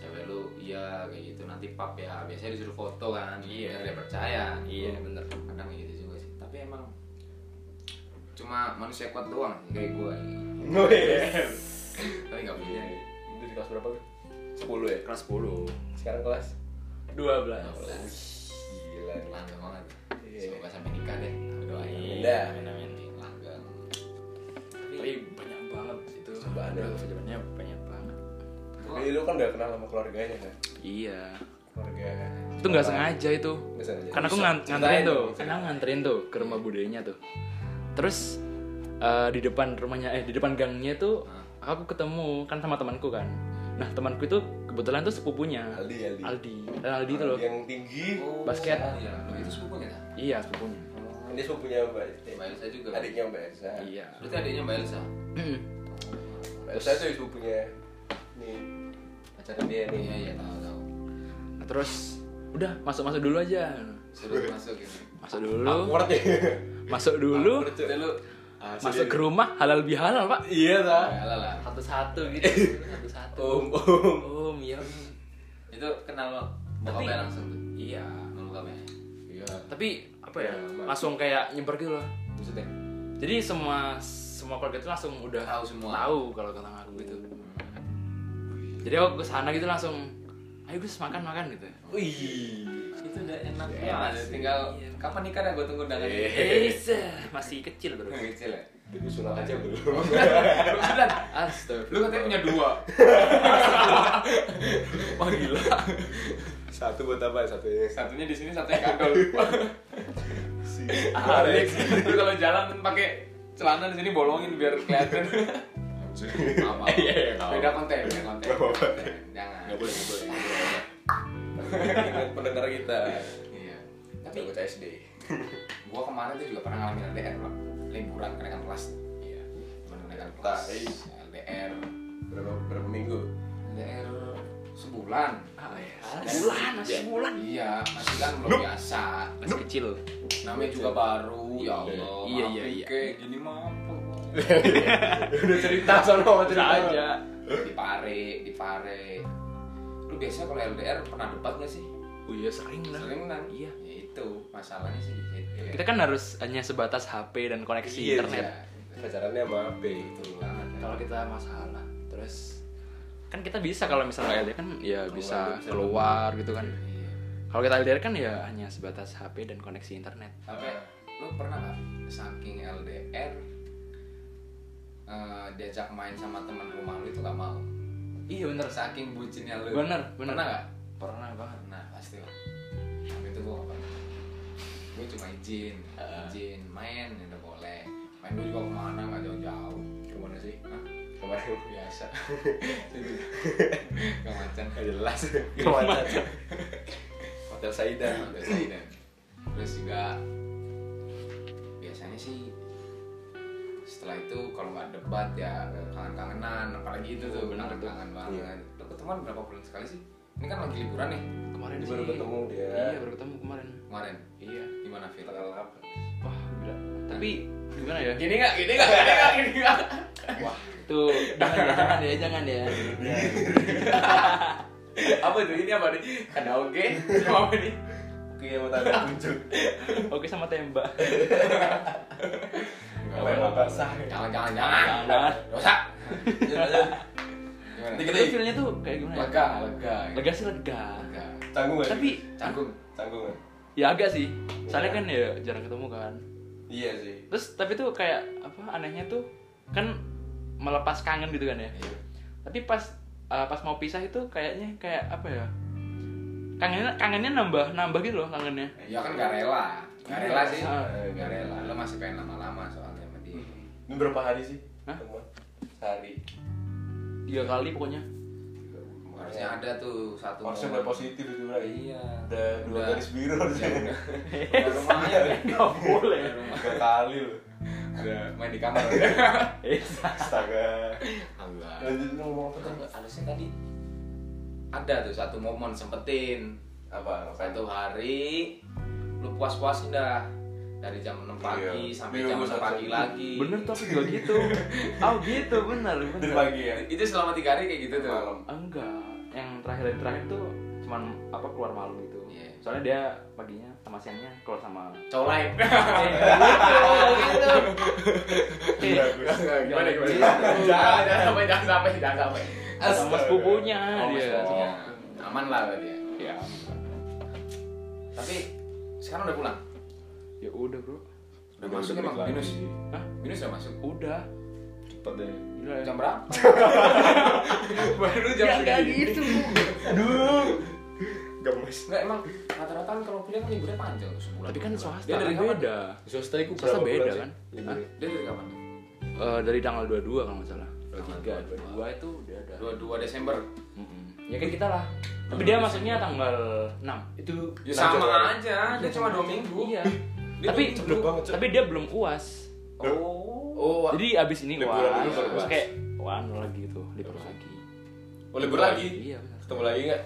S2: cewek lu iya kayak gitu nanti pap ya biasanya disuruh foto kan iya dia percaya
S3: Iya,
S2: Lu-
S3: bener.
S2: kadang kayak gitu juga sih tapi emang cuma manusia kuat doang sih, kayak gue
S1: Yes.
S2: tapi nggak
S3: Iya.
S2: punya gitu.
S1: Iya. Itu di kelas berapa? Gus? 10 ya?
S3: Kelas Nah, 10,
S1: Sekarang kelas?
S3: 12.
S1: Gila
S2: langga banget
S1: Iya.
S2: semoga sampai nikah deh doain
S1: Iya. Dah.
S3: Amin, amin.
S2: langga
S3: Tapi banyak banget itu.
S1: Cobaan ya.
S3: Sebenarnya banyak banget.
S1: Jadi lu kan gak kenal sama keluarganya kan?
S3: Iya.
S1: Keluarga
S3: Itu nggak sengaja itu.
S1: Nggak sengaja.
S3: Karena aku
S1: Bisa.
S3: ngan- nganterin
S1: Ceritain
S3: tuh,
S1: dong,
S3: karena aku nganterin tuh ke rumah budenya tuh. Terus eh, di depan rumahnya eh di depan gangnya tuh aku ketemu kan sama temanku kan. Nah, temanku itu kebetulan tuh sepupunya.
S1: Aldi, Aldi.
S3: Aldi. Eh, Aldi itu loh.
S1: Yang tinggi
S2: Oh,
S3: Basket.
S2: iya Lu itu sepupunya kan
S3: Iya, sepupunya.
S1: Kan dia sepupunya Mbak Elsa
S2: mbak Elsa juga
S1: Adiknya Mbak Elsa
S3: Iya.
S2: berarti adiknya mbak Elsa
S1: Mbak Elsa tuh sepupunya Nih Pacarnya dia nih
S2: iya iya tahu tahu
S3: Nah, terus udah masuk-masuk dulu aja.
S2: suruh masuk gitu
S3: Masuk dulu.
S1: Awkward ya
S3: Masuk dulu.
S2: Awkward, cuy. lu
S3: Masuk ke rumah halal bihalal, Pak.
S1: Iya lah
S2: Yalah lah.
S3: Satu-satu gitu. Satu-satu.
S1: Om, om
S3: Oh, iya.
S2: Itu kenal lo
S3: Tapi-
S2: bokapnya langsung tuh.
S3: Iya.
S2: Kenal bokapnya.
S1: Iya
S3: tapi apa ya
S1: Ya, Mbak.
S3: langsung kayak nyebar gitu loh
S2: Maksudnya?
S3: jadi semua semua keluarga itu langsung udah
S2: Tahu semua.
S3: tahu kalau tentang aku gitu jadi aku kesana gitu langsung ayo Gus makan makan gitu
S1: Wih
S2: Itu udah enak
S1: Iya,
S2: banget.
S1: sih.
S2: Tinggal kapan nikah dah gue tunggu undangan.
S1: Iya.
S3: Eh, masih kecil bro
S2: Yang kecil ya.
S1: Jadi sunat aja belum
S2: Sudah.
S3: Astagfirullah
S2: Lu katanya punya dua.
S3: Wah gila
S1: Satu ya. buat apa satunya?
S2: Satunya di sini, satunya kagak.
S1: Si
S2: Ah, Alex. Lu kalau jalan pakai celana di sini bolongin biar kelihatan. Apa?
S1: Iya, iya, nggak
S2: Beda konten, beda konten.
S1: Nggak apa-apa.
S2: Konten. Jangan.
S1: Gak boleh, gak boleh Ingat pendengar kita
S2: Iya. Tapi
S1: Tapi SD
S2: gua kemarin tuh juga pernah ngalamin LDR bro liburan kenaikan kelas iya liburan kenaikan kelas
S1: Tai.
S2: LDR
S1: Berapa, berapa minggu?
S2: LDR sebulan
S3: Ah, ya. bulan masih bulan
S2: Iya, masih kan belum biasa.
S3: masih kecil
S2: Namanya juga baru, ya Allah.
S3: Iya, iya,
S2: Apik
S3: iya.
S2: Kayak gini mah apa?
S1: udah cerita sono sama cerita
S3: aja
S2: Di pare, di pare. Lu biasa kalau LDR pernah debat gak sih?
S3: oh iya sering lah
S2: Sering kan?
S3: Iya.
S2: Ya itu masalahnya sih di situ. ya.
S3: kita kan harus hanya sebatas HP dan koneksi
S1: Iya,
S3: internet
S2: Iya,
S1: pacarannya sama HP
S2: Itu banget.
S3: iya. kalau kita masalah terus kan kita bisa kalau misalnya LDR kan ya bisa keluar gitu kan
S2: Iya.
S3: kalau kita LDR kan ya hanya sebatas HP dan koneksi internet
S2: Sampai lu pernah gak saking LDR eh, diajak main sama teman rumah lu itu gak mau?
S3: iya bener
S2: Saking bucinnya lu.
S3: bener bener
S2: Pernah gak?
S3: pernah banget
S2: Nah pasti lah. Tapi itu gue gak pernah. Gue cuma izin, izin main ya udah boleh. Main gue juga kemana gak jauh-jauh.
S1: kemana sih
S2: Hah?
S1: kemarin
S2: Biasa. gak macan. Gak jelas.
S1: kemana hotel Saidan
S2: Biasa dan terus juga biasanya sih setelah itu kalau nggak debat ya kangen-kangenan apalagi itu tuh
S3: Bener tuh.
S2: kangen-kangen banget. Lu ketemuan berapa bulan sekali sih? Ini kan lagi liburan nih
S3: kemarin
S1: Ini
S3: sih
S1: baru ketemu dia.
S3: iya baru ketemu kemarin
S2: kemarin.
S3: iya
S2: Gimana Fir?
S1: tanggal 8
S3: wah gila tapi gimana ya
S2: Gini nggak? Gini nggak? Gini nggak? Gini nggak?
S3: wah itu jangan ya jangan ya jangan ya
S2: apa tuh ini apa nih? Ada oke? Apa nih?
S1: oke sama tanda tunjuk
S3: oke sama tembak
S1: Apa yang basah? Iya,
S2: Jangan jangan jangan.
S3: Jangan, jangan.
S2: Dosa. Gimana?
S3: tapi feelnya tuh kayak gimana ya?
S2: Lega, lega.
S3: lega sih lega
S2: Lega.
S1: canggung gak sih?
S3: tapi
S2: Canggung.
S1: canggung gak?
S3: ya agak sih
S2: Iya.
S3: soalnya kan ya jarang ketemu kan
S1: iya sih
S3: terus tapi tuh kayak apa anehnya tuh kan melepas kangen gitu kan ya
S2: Iya.
S3: tapi pas eh, pas mau pisah itu kayaknya kayak apa ya kangennya kangennya nambah nambah gitu loh kangennya
S2: Ya kan gak rela. Gak rela sih.
S3: Ah.
S2: Gak rela. Hmm. Lo masih pengen lama-lama soalnya sama dia.
S1: ini berapa hari sih?
S3: Hah?
S1: ketemuan? sehari
S3: tiga kali pokoknya
S2: Harusnya ada tuh satu.
S1: Iya. harusnya udah
S2: momen.
S1: positif itu lah
S2: Iya.
S1: udah dua
S2: Udah.
S1: garis biru harusnya
S2: Ya udah. Udah lumayan.
S3: nggak boleh
S1: tiga kali loh
S2: Udah main di kamar. udah.
S3: Eh,
S1: astaga
S2: Alhamdulillah.
S1: lanjut lu ngomong apa tadi?
S2: Kan Harusnya tadi ada tuh satu momen sempetin
S1: apa?
S2: satu hari lu puas-puasin dah dari jam 6 pagi
S1: Iya.
S2: sampai
S1: Iya,
S2: jam
S1: gua
S2: 6
S1: satu.
S2: pagi lagi
S3: bener tuh aku juga gitu oh gitu bener
S1: dari
S3: bener
S1: pagi ya?
S2: itu selama tiga hari kayak gitu tuh
S1: malam
S3: enggak yang terakhir terakhir tuh cuman apa keluar malam gitu
S2: Iya.
S3: soalnya dia paginya sama siangnya keluar sama
S2: cowok lain
S1: Iya, bagus
S3: Eh,
S2: gimana
S3: Jangan
S2: gimana
S1: iya.
S3: gitu.
S2: jangan jangan sampai jangan sampai jangan sampai
S3: sama sepupunya
S2: Oh,
S3: dia
S2: maksudnya aman lah berarti ya
S3: ya
S2: tapi sekarang udah pulang
S3: ya udah bro
S2: udah masuk emang
S1: balik
S2: minus
S1: lagi.
S3: Hah?
S2: minus udah masuk
S3: udah
S1: cepet deh
S3: gila ya
S2: jam berapa baru jam
S3: Ya, nggak
S2: segini
S3: gitu
S1: aduh gemes
S2: Enggak emang rata-rata kan kalau kuliah kan liburnya panjang tuh sebulan.
S3: tapi kan
S2: dua bulan.
S3: swasta
S2: Dia dari
S3: kan
S2: kapan?
S3: beda
S1: swasta itu
S3: Swasta
S1: berapa
S3: beda
S1: bulan sih?
S3: kan?
S1: Libur.
S3: Hah?
S2: Dia dari kapan?
S3: Eh, dari tanggal 22 kalau nggak salah
S2: Tanggal
S3: 23 22 itu udah ada
S2: 22 Desember.
S3: Mm-mm. ya kan kita lah tapi dia masuknya tanggal 6
S1: itu
S2: Ya
S1: Nah,
S2: sama
S1: coba.
S2: aja, dia cuma 2 minggu.
S3: iya
S2: Dia
S3: tapi
S2: tuh
S1: cepet banget, cepet.
S3: tapi dia belum uas
S2: Oh.
S1: oh
S3: jadi abis ini
S1: Liburan
S3: uas
S1: dulu baru
S3: terus
S1: uas.
S3: kayak wah nol lagi tuh libur lagi
S1: oh libur lagi
S3: iya benar
S1: ketemu lagi nggak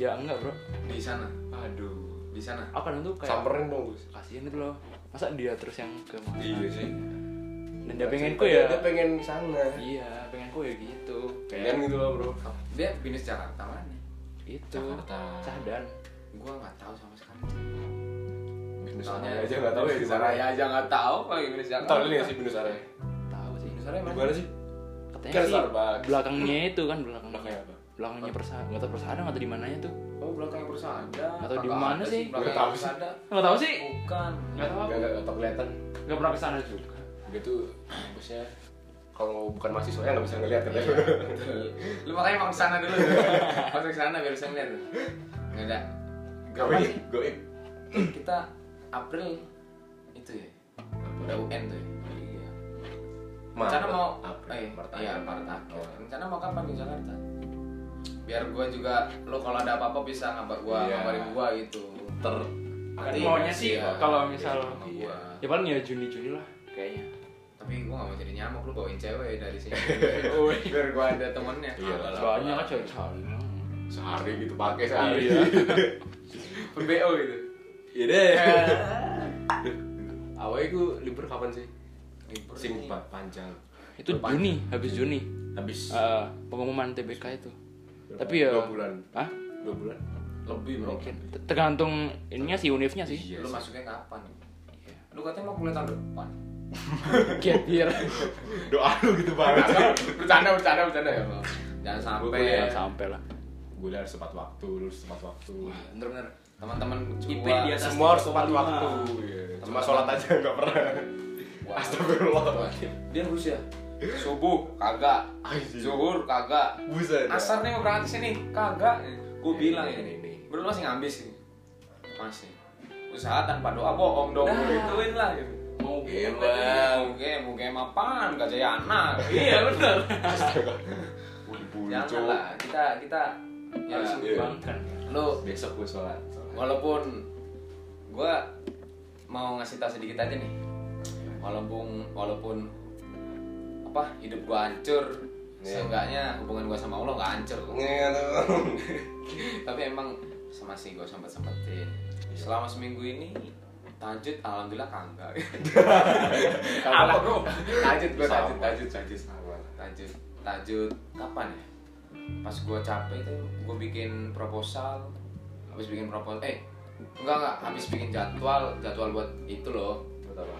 S3: ya enggak bro
S2: Di sana. Aduh, di sana.
S3: aku kadang tuh kayak
S1: samperin dong Gus
S3: kasihan itu gitu loh masa dia terus yang ke mana
S1: iya sih
S3: dan dia pengen ku ya
S1: dia pengen sana
S3: iya pengen ku ya gitu
S1: pengen gitu lah bro
S2: Dia minus Jakarta mana?
S3: itu
S2: Jakarta.
S3: cahdan
S2: Gua enggak tahu sama sekali.
S1: Binus
S2: Soalnya
S1: aja nggak tahu ya di
S2: Binus
S1: mana
S2: Araya aja enggak tahu kalau minus Jakarta.
S1: tahun ini ya sih Binus Araya
S3: tahu sih
S2: Binus Araya
S1: di
S2: mana?
S1: mana sih
S3: katanya
S1: Kan
S3: sih
S1: Starbucks.
S3: belakangnya itu kan belakangnya
S1: Belakangnya apa?
S3: belakangnya persada nggak tahu persada nggak tahu di mananya tuh
S2: Oh, belakang Persada.
S3: Atau di
S2: Kakak
S3: mana
S2: ada
S3: sih?
S2: Belakang
S1: Nggak tahu sih.
S2: Persada.
S3: nggak tahu sih
S2: Bukan.
S3: nggak
S1: nggak
S3: tahu aku.
S1: nggak nggak tau kelihatan
S3: nggak pernah kesana juga
S1: dia tuh kampusnya kalau bukan mahasiswa nggak bisa ngeliat katanya
S2: Lu makanya mau kesana dulu. Masuk kesana biar bisa ngeliat. Nggak ada. Kapan
S1: goib
S2: sih?
S1: goib
S2: Kita April itu ya. Udah UN tuh ya. Iya. Rencana mau eh, iya, Maret akhir. Rencana mau kapan di Jakarta? Biar gua juga lu kalau ada apa-apa bisa ngabar gua,
S1: Iya.
S2: ngabarin gua gitu.
S1: ter
S3: kan
S2: Nanti
S3: maunya sih
S2: iya,
S3: kalau misal
S2: sama gua.
S3: ya paling ya Juni Juni lah kayaknya
S2: Tapi gua nggak mau jadi nyamuk lu bawain cewek dari sini.
S3: Oh,
S2: Biar gua ada temennya. Ah,
S1: Iya,
S2: Alah,
S3: soalnya
S2: alah.
S3: kan cowok cowok
S2: sehari gitu pakai sehari
S1: Iya. PBO gitu.
S2: iya deh
S1: Awalnya gue libur kapan sih?
S2: Libur
S1: Sim
S2: nih.
S1: pa- panjang.
S3: itu Juni habis Juni
S2: habis
S3: Eh, pengumuman TBK itu tapi ya
S1: Dua bulan.
S3: ah
S1: Dua bulan.
S2: lebih bro
S3: mungkin Ter- tergantung ininya sih univnya Iya sih
S2: lu masuknya kapan Iya. lu katanya mau kuliah tahun depan
S3: Gap year.
S1: Doa lu gitu banget. bercanda, bercanda, bercanda ya. Allah.
S2: jangan
S1: Gua
S2: sampai
S1: kuliah
S3: ya sampai lah
S1: Gue udah harus tepat waktu, lu harus tepat waktu.
S2: bener-bener teman-teman
S4: IP
S2: gua-
S4: di atas
S1: Semua harus tepat
S4: 3,5.
S1: waktu. iya. Cuma sholat aja nggak pernah.
S2: Wah.
S1: Astagfirullah.
S2: dia lulus ya subuh kagak
S1: Anjing.
S2: zuhur kagak
S1: Buset.
S2: asar nih mau berangkat sini kagak gue
S1: Ini,
S2: bilang
S1: ini,
S2: ini
S1: ini.
S2: bro lu masih ngambis sih masih usaha tanpa doa bohong dong
S4: Nah.
S2: gituin lah gitu
S4: Mau
S3: Iya,
S4: game
S2: Gila, mau game, mau game apaan? Gak jaya anak. Iya bener. Jangan
S1: Jangan
S2: lah, kita kita
S3: Iya.
S2: ya,
S1: Harus
S3: Bangkan.
S2: lu
S1: Besok gue sholat. sholat.
S2: walaupun gua mau ngasih tau sedikit aja nih walaupun walaupun apa hidup gua hancur
S1: Iya.
S2: seenggaknya hubungan gua sama Allah nggak hancur
S1: Nge-
S2: tapi emang sama sih gua sempat sempetin selama seminggu ini tahajud alhamdulillah kagak
S1: Apa,
S2: bro tahajud gua
S1: Sama.
S2: tahajud tahajud tahajud tahajud tahajud kapan ya pas gua capek itu gua bikin proposal habis bikin proposal eh enggak enggak habis bikin jadwal jadwal buat itu loh
S1: Buat apa?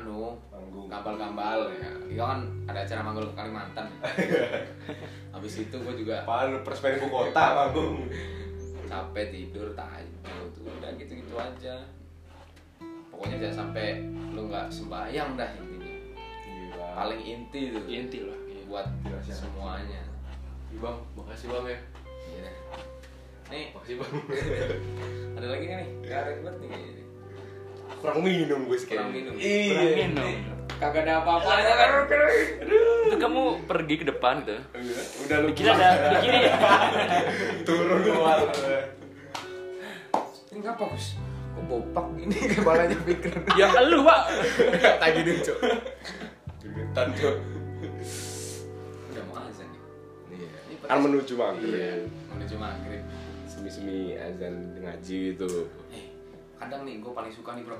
S2: anu
S1: Panggung.
S2: gambal-gambal ya itu kan ada acara manggul ke Kalimantan habis itu gua juga
S1: Apaan lu persmen ibu kota manggung?
S2: capek tidur tahajud udah gitu gitu aja pokoknya jangan sampai lu nggak sembahyang dah intinya
S1: Gila.
S2: paling inti itu
S3: inti lah
S2: buat
S1: Jelas ya.
S2: semuanya
S1: Iya, Bang, makasih Bang ya.
S2: Iya. nih
S1: Makasih Bang.
S2: ada lagi nggak nih garing banget nih kayaknya nih.
S1: Kurang minum gue sekarang.
S2: Kurang minum.
S1: Iya.
S3: Kurang minum.
S2: kagak ada apa-apanya kan
S3: itu kamu pergi ke depan gitu
S1: Iya, Udah lu
S3: Dikira ada di kiri ya?
S1: turun keluar.
S2: ini ngapa Gus kok bopak gini kepalanya pikir
S3: Ya elu, Pak.
S1: Tagi dulu, Cok. Gentan, Cok.
S2: udah mau azan nih
S1: Iya.
S2: Ini
S1: Kan menuju
S2: iya
S1: maghrib.
S2: menuju maghrib
S1: Semi-semi azan ngaji gitu.
S2: eh kadang nih gue paling suka nih bro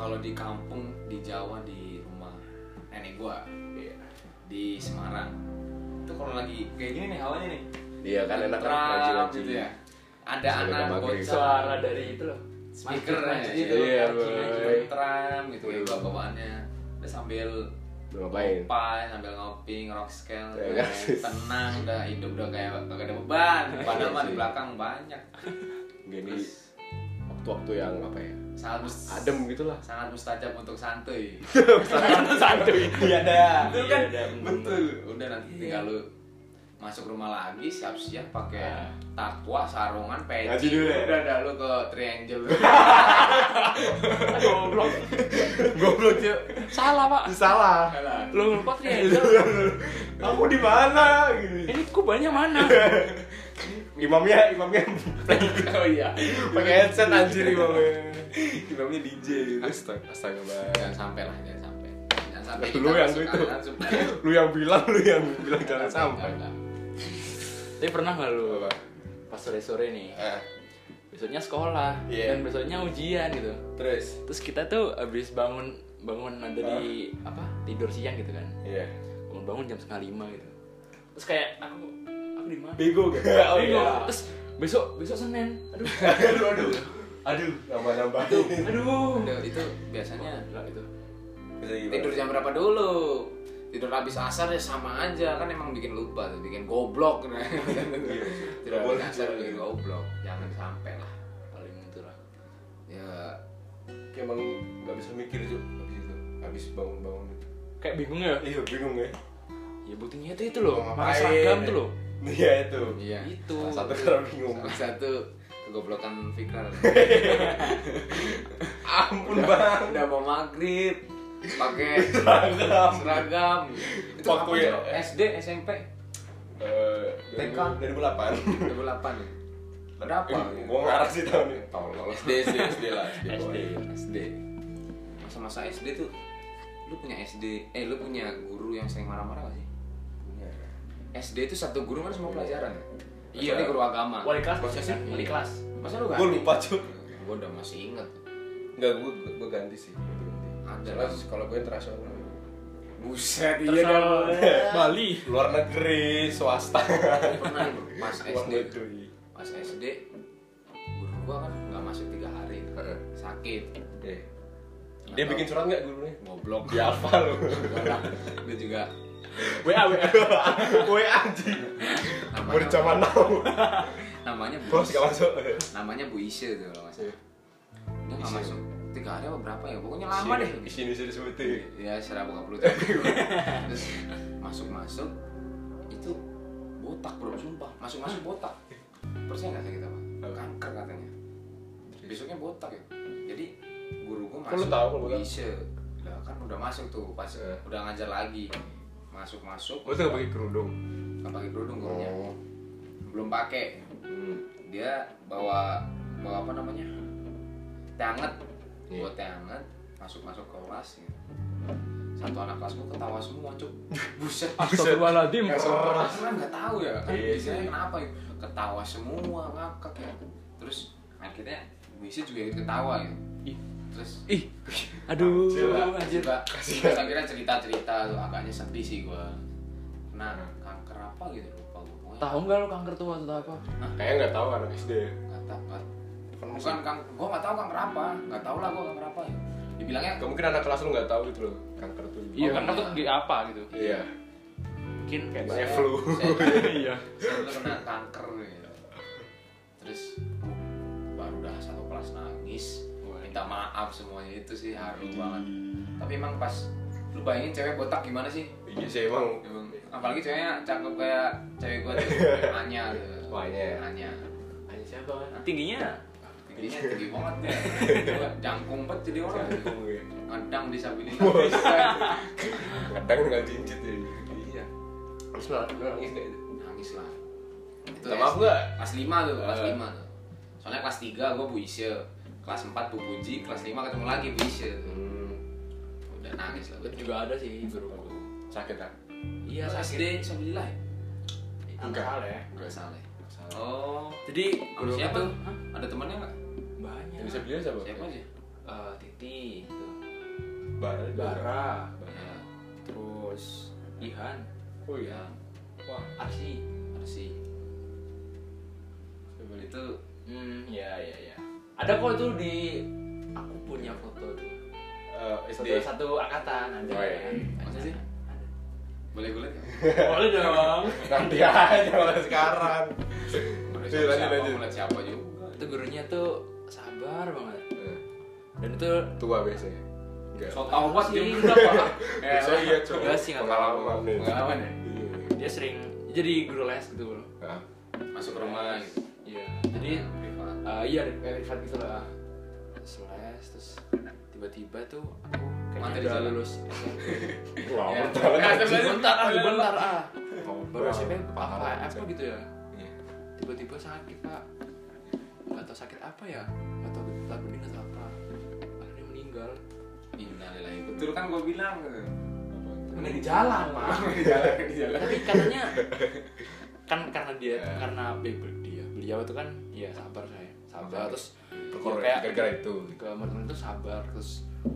S2: kalau di kampung di Jawa di rumah nenek gua
S1: Iya.
S2: di Semarang itu kalau lagi kayak gini nih hawanya nih
S1: Iya kan enak kan
S2: Tentram
S1: ngaji-ngaji.
S2: gitu ya ada
S1: Sambil
S2: anak
S1: maghrib.
S2: bocah
S3: Suara dari itu loh.
S2: speaker aja
S3: Iya,
S2: gitu
S1: iya, boy. Iya.
S2: tentram gitu ya bawa bawaannya udah sambil
S1: Lu ngapain?
S2: ngopi, sambil ngopi ngerok scale
S1: Ya, kan?
S2: tenang udah hidup udah kayak gak ada beban padahal mah di
S1: Iya, sih.
S2: belakang banyak
S1: Gini waktu-waktu yang apa ya?
S2: sangat mus-
S1: Adem gitu lah.
S2: sangat mustajab untuk santuy
S3: Santuy.
S1: Iya dah.
S2: Betul kan?
S1: Iya, dah.
S2: Betul. Udah nanti
S1: Iya.
S2: tinggal lu masuk rumah lagi siap-siap pakai takwa, sarungan, peci.
S1: Ngaji dulu Nah. ya?
S2: Udah dah lu ke triangle.
S3: Goblok.
S1: Goblok, Cok.
S3: Salah, Pak.
S1: Salah.
S3: Lu lupa triangle.
S1: Aku di mana? Gini.
S3: Ini kubahnya mana?
S1: imamnya imamnya
S2: oh iya.
S1: pakai headset anjir imamnya imamnya DJ astaga astaga bang
S2: Jangan sampai lah, jangan sampai. Jangan sampai Nah, kita
S1: lu yang
S2: masuk
S1: itu
S2: kanan, supaya-
S1: lu yang bilang lu yang bilang jangan sampai
S2: Enggak, enggak.
S3: Tapi pernah nggak lu?
S1: Apa?
S3: Pas sore-sore nih.
S1: Eh,
S3: Besoknya sekolah
S1: Iya.
S3: dan besoknya ujian gitu.
S1: terus
S3: Terus kita tuh abis bangun bangun ada di apa? Tidur siang gitu kan.
S1: iya
S3: bangun-bangun jam setengah lima gitu Iya. terus kayak aku aku di mana
S1: bego gitu oh
S3: Bingung.
S1: iya
S3: terus besok besok senin aduh
S1: aduh aduh aduh nambah nambah
S3: aduh
S2: Udah, itu biasanya
S3: Gila itu
S2: tidur jam berapa dulu? Tidur habis asar ya sama aja kan emang bikin lupa tuh, bikin goblok. tidur
S1: Iya, Boleh,
S2: habis asar
S1: boleh.
S2: bikin goblok. Jangan sampai lah.
S3: paling itu lah
S2: Ya
S1: Kayak emang nggak bisa mikir tuh habis itu habis gitu. bangun bangun itu
S3: kayak bingung ya
S1: iya bingung ya
S3: ya buktinya itu itu loh
S1: Mau
S3: pakai
S1: ngapain?
S3: seragam tuh loh
S1: iya itu
S2: Iya.
S3: Itu.
S2: Salah
S1: satu
S2: satu
S1: karena bingung
S2: salah satu kegoblokan Fikrar.
S1: ampun bang
S2: Udah mau maghrib pakai
S1: Seragam.
S2: seragam. Itu
S1: Waktu
S2: Waktu
S1: ya?
S2: SD, SMP,
S1: Eh,
S2: TK.
S1: 2008
S2: 2008 ya. Berapa? ya?
S1: Eh, gua ngarah sih tahun ini
S2: Tolol.
S1: SD SD SD lah
S3: SD
S2: SD. Masa-masa SD tuh lu punya SD, eh lu
S1: Iya.
S2: punya guru yang sering marah-marah gak sih? SD itu satu guru kan semua pelajaran. ya? Iya, ini guru agama. Iya.
S3: wali kelas
S1: Masa sih?
S3: kan? wali kelas
S2: Masa lu
S1: Gue lupa cuy.
S2: Gue udah masih inget.
S1: Enggak, gue gue ganti sih. Gua ganti.
S2: Ada
S1: Soalnya
S2: lah.
S1: sekolah gue internasional.
S2: Buset, iya
S3: Terus soal Bali
S1: Luar negeri, swasta.
S2: Pernah lu, pas
S1: Uang
S2: SD.
S1: itu.
S2: Pas SD guru gua kan nggak masuk tiga hari. Sakit.
S1: Eh. Dia bikin surat Eh, nggak gurunya?
S2: goblok.
S1: Ya apa lu?
S2: Enggak lah. Dia juga
S3: WA WA
S1: Gue anjing.
S2: namanya
S1: Bercaman nau.
S2: namanya Bu
S1: Bos gak masuk.
S2: namanya Bu Isye tuh kalau nggak salah. Dia nggak
S1: Isye.
S2: masuk tiga hari apa berapa ya? Pokoknya lama
S1: Iya.
S2: deh.
S1: Sini sini sebutin.
S2: ya secara buka perut terus masuk masuk itu botak bro sumpah masuk masuk botak percaya nggak sakit apa
S1: Apa?
S2: kanker katanya besoknya botak ya jadi guru gua
S1: Kok Kan lu
S2: masuk
S1: tahu kalau botak?
S2: bisa lah kan udah masuk tuh pas
S1: Eh.
S2: udah ngajar lagi masuk masuk
S1: Gue tuh nggak pakai kerudung.
S2: nggak pakai kerudung gurunya
S1: Oh.
S2: belum pakai dia bawa bawa apa namanya teh anget
S1: Iya.
S2: buat teh anget masuk masuk kelas gitu. satu anak kelas gua ketawa semua cuk buset
S3: Astagfirullahaladzim
S2: kelas kan nggak tahu ya kan
S1: Iya,
S2: biasanya
S1: iya.
S2: kenapa ya ketawa semua ngakak ya terus akhirnya bisa juga ikut ketawa gitu
S1: Iya.
S3: Ih.
S2: terus
S3: Ih Aduh
S2: Coba,
S3: anjir.
S2: coba. Terus akhirnya cerita-cerita tuh agaknya sedih sih gua kena
S1: Hmm.
S2: kanker apa gitu lupa gua Pokoknya
S3: Tahu nggak lu kanker tua atau apa?
S1: Kayaknya nggak tahu anak SD.
S2: nggak tahu nggak-
S1: Bukan.
S2: bukan kang gue nggak tahu kanker apa nggak tahu lah gue kanker apa ya dibilangnya
S1: Gak mungkin anak kelas lu nggak tahu gitu loh. Kanker tuh.
S3: Iya
S2: Oh,
S3: kanker
S2: iya.
S3: tuh kayak apa gitu?
S1: Iya.
S3: Mungkin
S1: Kayak flu.
S3: iya.
S2: saya tuh kena kanker gitu terus uh, baru dah satu kelas nangis minta maaf semuanya itu sih haru
S1: Hmm.
S2: banget tapi emang pas lu bayangin cewek botak gimana sih
S1: Iya sih emang.
S2: Emang, apalagi ceweknya cakep kayak cewek gue tuh Anya gitu
S1: Oh, Anya.
S2: Anya
S1: Ini siapa?
S3: Tingginya
S2: tingginya tinggi banget ya jangkung banget jadi orang
S1: ya.
S2: ngedang disabilitas
S1: Kadang nggak cincit ya. Iya. Terus malah lu nangis kayak gitu." itu.
S2: nangis lah itu
S1: Minta maaf
S2: SD.
S1: nggak?
S2: kelas 5 tuh kelas
S1: Eh.
S2: 5 tuh soalnya kelas 3 gue bu Isya kelas 4 bu Puji kelas 5 ketemu lagi bu Isya
S1: Hmm.
S2: udah nangis lah gue
S3: juga ada sih bro.
S1: Sakit kan?
S3: Iya
S2: SD
S3: sakit.
S2: Sabilillah ya?
S1: Enggak.
S3: Enggak ya.
S2: nggak salah ya?
S1: Salah.
S2: oh
S3: Jadi
S2: sama
S3: guru
S2: siapa
S3: tuh
S2: tuh? ada temennya nggak?
S3: kan banyak.
S1: Yang bisa beliau siapa?
S2: siapa aja?
S3: Eh, Titi, gitu.
S1: Bara.
S3: Bara,
S2: ya
S3: terus Ihan,
S1: Oh iya.
S2: ya
S1: Wah.
S3: Arsi.
S2: Arsi
S1: Saya beli.
S2: itu
S3: Hmm, ya ya ya. Ada kok itu di aku punya foto tuh.
S1: Eh, SD.
S3: Satu, satu angkatan ada.
S1: Oh, iya.
S2: Masa sih? boleh gue lihat nggak?
S3: Boleh dong.
S1: Nanti aja malah sekarang.
S2: Mulai
S1: Lanjut,
S2: siapa-
S1: lanjut,
S2: siapa,
S1: lanjut.
S2: mulai siapa juga
S3: itu gurunya tuh sabar banget.
S1: Eh,
S3: Dan itu
S1: Tua biasanya. Enggak.
S2: so tau banget
S3: sih,
S2: dia
S3: enggak apa.
S2: Eh,
S1: Biasanya iya, Cok.
S3: Enggak sih, enggak tahu.
S1: Pengalaman nih.
S2: pengalaman ya?
S1: Iya.
S3: Dia sering jadi guru les gitu loh.
S1: Ah,
S2: masuk ke rumah gitu
S3: Iya. Jadi
S2: Privat.
S3: eh, iya kayak privat gitu lah. Terus les terus tiba-tiba tuh aku
S2: Materi
S3: kayaknya udah
S2: jalan.
S3: lulus
S1: Wah,
S2: Ya.
S1: betul.
S2: Nah, tapi-
S3: bentar ah bentar ah baru
S1: Wah,
S3: SMP
S1: parah.
S3: apa apa gitu ya
S1: Iya.
S3: tiba-tiba sakit pak nggak tahu sakit apa ya nggak tahu getah bening atau apa akhirnya meninggal
S2: Innalillahi. Betul kan gue bilang.
S3: meninggal di jalan pak
S2: Di jalan, di jalan.
S3: tapi katanya kan karena dia
S1: Ya.
S3: karena be- dia beliau itu kan ya sabar saya sabar
S1: Sabar.
S3: terus
S1: Perkara-
S3: ya, kayak
S1: gara-gara itu.
S3: ke teman itu sabar terus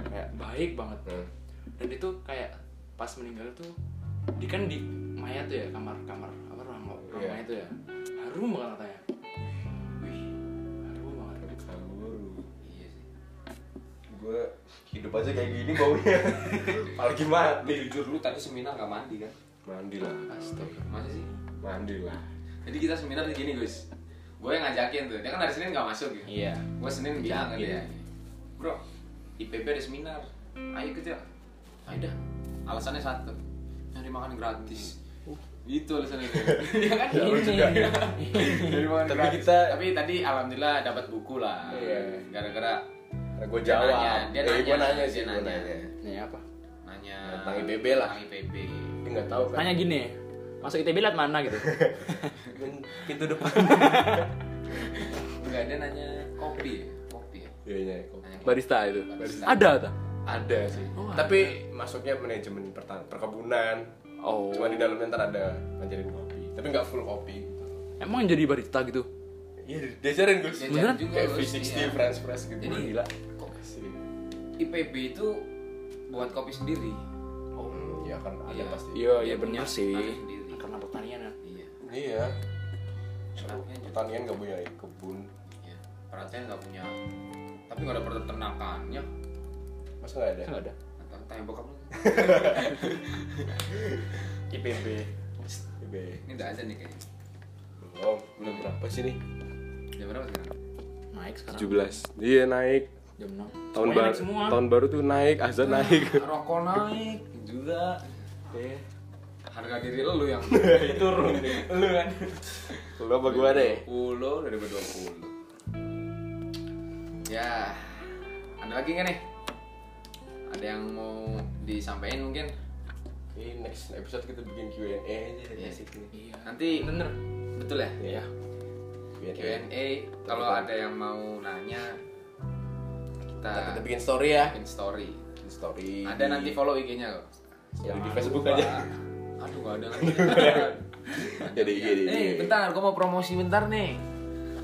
S3: kayak baik banget
S1: Hmm.
S3: dan itu kayak pas meninggal tuh di kan di Maya tuh ya kamar kamar apa ruang ruang
S1: Iya.
S3: Maya tuh ya harum banget katanya wih harum banget
S2: Iya sih.
S1: Gue hidup aja kayak gini baunya. Apalagi
S2: Lu
S1: mati.
S2: jujur lu tadi seminar gak mandi kan?
S1: Mandi lah.
S3: astaga
S2: Masa sih?
S1: Mandi lah.
S2: Jadi kita seminar tuh gini guys. Gue yang ngajakin tuh. Dia kan hari Senin gak masuk gitu.
S3: iya
S2: Gue Senin bilang kan dia.
S3: Iya.
S2: Bro, IPB ada seminar. Ayo kerja. Ayo dah. Alasannya satu. Nyari makan gratis.
S1: Oh.
S2: Itu alasannya. Iya kan?
S1: Ya, lu
S2: Ini.
S1: juga.
S2: Nyari makan
S1: Tapi
S2: gratis.
S1: kita-
S2: Tapi tadi alhamdulillah dapat buku lah.
S1: Iya.
S2: Gara-gara
S1: Gue
S2: Dia
S1: jawab.
S2: nanya, dia
S1: Eh,
S2: nanya,
S1: gua nanya
S2: dia
S1: sih, gua
S2: nanya.
S1: nanya.
S3: ini apa
S2: nanya
S1: Tentang IPB lah.
S2: Tentang IPB.
S1: Dia nggak tahu kan.
S3: nanya gitu. gini masuk ITB liat mana gitu
S1: Pintu depan.
S2: Enggak ada nanya kopi, ya? kopi ya.
S1: Iya, iya. kok.
S2: Nanya kopi.
S3: barista itu
S2: Barista.
S3: ada ada
S1: Ada sih.
S3: Oh,
S1: Tapi masuknya manajemen pertan- perkebunan.
S3: oh
S1: Cuma di dalamnya ntar ada ngajarin kopi. Tapi nggak full kopi. gitu.
S3: emang jadi barista gitu
S1: Iya, diajarin gue.
S2: Diajarin
S3: Beneran?
S2: juga,
S1: Kayak
S2: Gus,
S1: V60
S2: iya.
S1: French press gitu.
S2: Jadi-
S1: Gila. Kok sih?
S2: IPB itu buat kopi sendiri.
S1: Oh, ya kan ada
S2: Iya.
S1: pasti.
S2: Iya, iya bener sih.
S3: karena pertanian ya
S2: Iya.
S1: Iya.
S2: Enaknya juga.
S1: Pertanian gak punya kebun.
S2: Iya. Perhatian nggak punya. Tapi nggak ada peternakannya.
S1: Masa gak ada?
S3: nggak ada
S2: Atau tanya bokap lu.
S3: IPB
S1: Ibe.
S2: Ini nggak ada nih kayaknya.
S1: Belum. Oh, Belum berapa sih nih?
S2: Jam berapa sekarang?
S3: naik sekarang
S1: 17. Dia Iya, naik.
S3: jam enam
S1: Tahun
S3: Pokoknya
S1: baru
S3: naik semua
S1: tahun baru tuh naik, azan
S2: Nah.
S1: naik.
S2: Rokok naik juga. Iya. Harga diri lu yang turun. lu kan.
S1: Lu apa gua
S2: Iya.
S1: deh?
S2: 20 dari 20. Ya. Ada lagi nggak nih? Ada yang mau disampaikan mungkin?
S1: Ini next episode kita bikin Q&A aja dari
S2: Iya.
S1: sih ini.
S3: iya
S2: Nanti
S3: bener
S2: betul ya?
S1: Iya.
S2: Q&A kalau ada yang mau nanya kita
S1: Nah, kita bikin story ya.
S2: bikin story.
S1: Bikin story.
S2: Iya. Ada nanti follow IG-nya kok.
S1: Jadi di
S2: Jangan
S1: Facebook
S2: lupa.
S1: aja.
S2: Aduh gak ada lagi.
S1: Jadi jadi.
S2: Eh bentar, gua mau promosi bentar nih.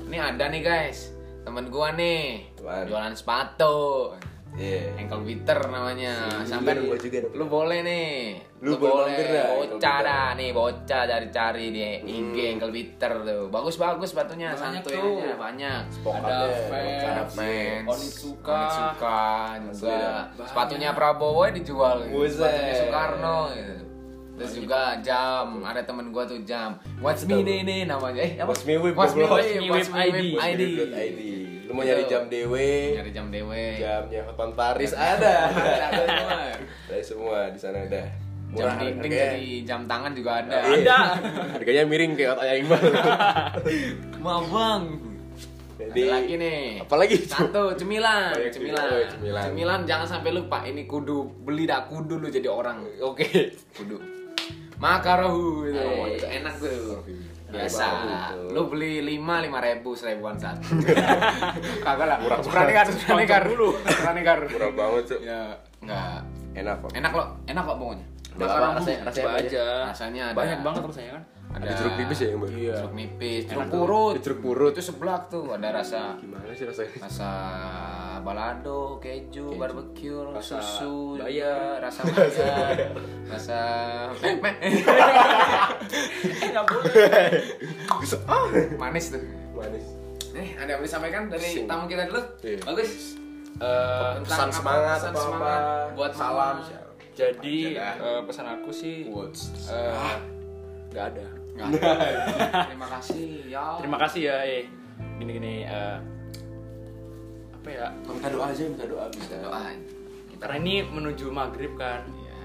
S2: Ini ada nih guys, temen gua nih
S1: Apaan?
S2: jualan sepatu.
S1: Iya.
S2: Ankle beater namanya. Sampai
S1: gua juga dong.
S2: Lu boleh nih.
S1: Lu boleh mampir dah, ankle Hmm.
S2: Bocah
S1: beater.
S2: dah nih, bocah cari-cari di IG ankle beater tuh. Bagus-bagus sepatunya,
S3: Banyak
S2: santuy
S3: tuh.
S2: aja, banyak.
S1: Spokatnya,
S2: Ada
S1: Vans,
S2: Vans,
S3: Onitsuka.
S2: Onitsuka
S1: Asli
S2: juga.
S1: dah.
S2: Sepatunya Prabowo dijual. gitu.
S1: Buset.
S2: Sepatunya Soekarno gitu. Terus juga jam, ada temen gua tuh jam. What's me nih nih namanya. Eh, apa?
S1: What's Me Whip,
S2: What's me
S1: goblok.
S2: Whip, What's me
S3: What's Me
S2: Whip
S3: Whip
S2: ID.
S1: ID. Lu mau nyari
S2: Gitu.
S1: jam dewe,
S2: Nyari jam dewe.
S1: jamnya Hotman Paris ada.
S2: Ada semua.
S1: Ada semua di sana ada.
S2: Jam
S1: Murah
S2: dinding
S1: harganya.
S2: jadi jam tangan juga ada.
S1: Iya. Harganya miring kayak otak yang imbal.
S2: Maaf bang.
S1: Jadi
S2: ada lagi nih.
S1: Apalagi itu?
S2: Satu cemilan,
S1: Oh, iya,
S2: cemilan.
S1: cemilan. Oh, iya, cemilan.
S2: jangan sampai lupa. Ini kudu beli dah kudu lu jadi orang.
S1: Oke.
S2: Kudu. Makarohu itu,
S1: Oh,
S2: itu enak tuh. Biasa.
S1: Enak banget itu.
S2: Lu beli lima lima ribu seribuan satu. Kagak lah.
S1: Murah
S2: Suranikar, suranikar dulu. Suranikar.
S1: Murah banget, Cuk.
S2: Ya, enggak.
S1: Enak kok.
S2: Enak loh, enak kok pokoknya.
S1: Udah apa,
S2: Makarohu.
S1: rasanya- rasanya
S2: Coba
S1: apa aja?
S2: Rasanya ada.
S3: banyak banget rasanya kan
S1: Ada jeruk nipis ya yang baru?
S2: Iya. Jeruk nipis, jeruk
S1: Enak tuh.
S2: purut.
S1: Jeruk purut.
S2: itu seblak tuh ada rasa
S1: Gimana sih rasanya?
S2: rasa balado, keju, barbecue,
S1: Rasa
S2: susu, iya,
S1: bayar.
S2: rasa bayar, rasa meh meh. Eh, nggak boleh.
S1: Bisa. Ah.
S2: Manis tuh.
S1: Manis.
S2: Nih, Eh, ada yang boleh sampaikan dari
S1: Pusing.
S2: tamu kita dulu?
S1: Iya.
S2: Bagus.
S3: Eh,
S2: Tentang
S1: Pesan
S2: apa?
S1: semangat
S2: Pesan
S1: apa apa.
S2: semangat buat
S1: salam.
S2: mama.
S3: jadi
S1: Jadah.
S3: eh, pesan aku sih
S1: Woods.
S3: eh, nggak ada
S2: Nggak ada. eh, Terima kasih ya.
S3: terima kasih ya eh gini gini eh, apa ya
S1: Minta doa aja, minta doa bisa.
S2: Doain. Kita
S3: karena ini menuju maghrib kan
S2: ya.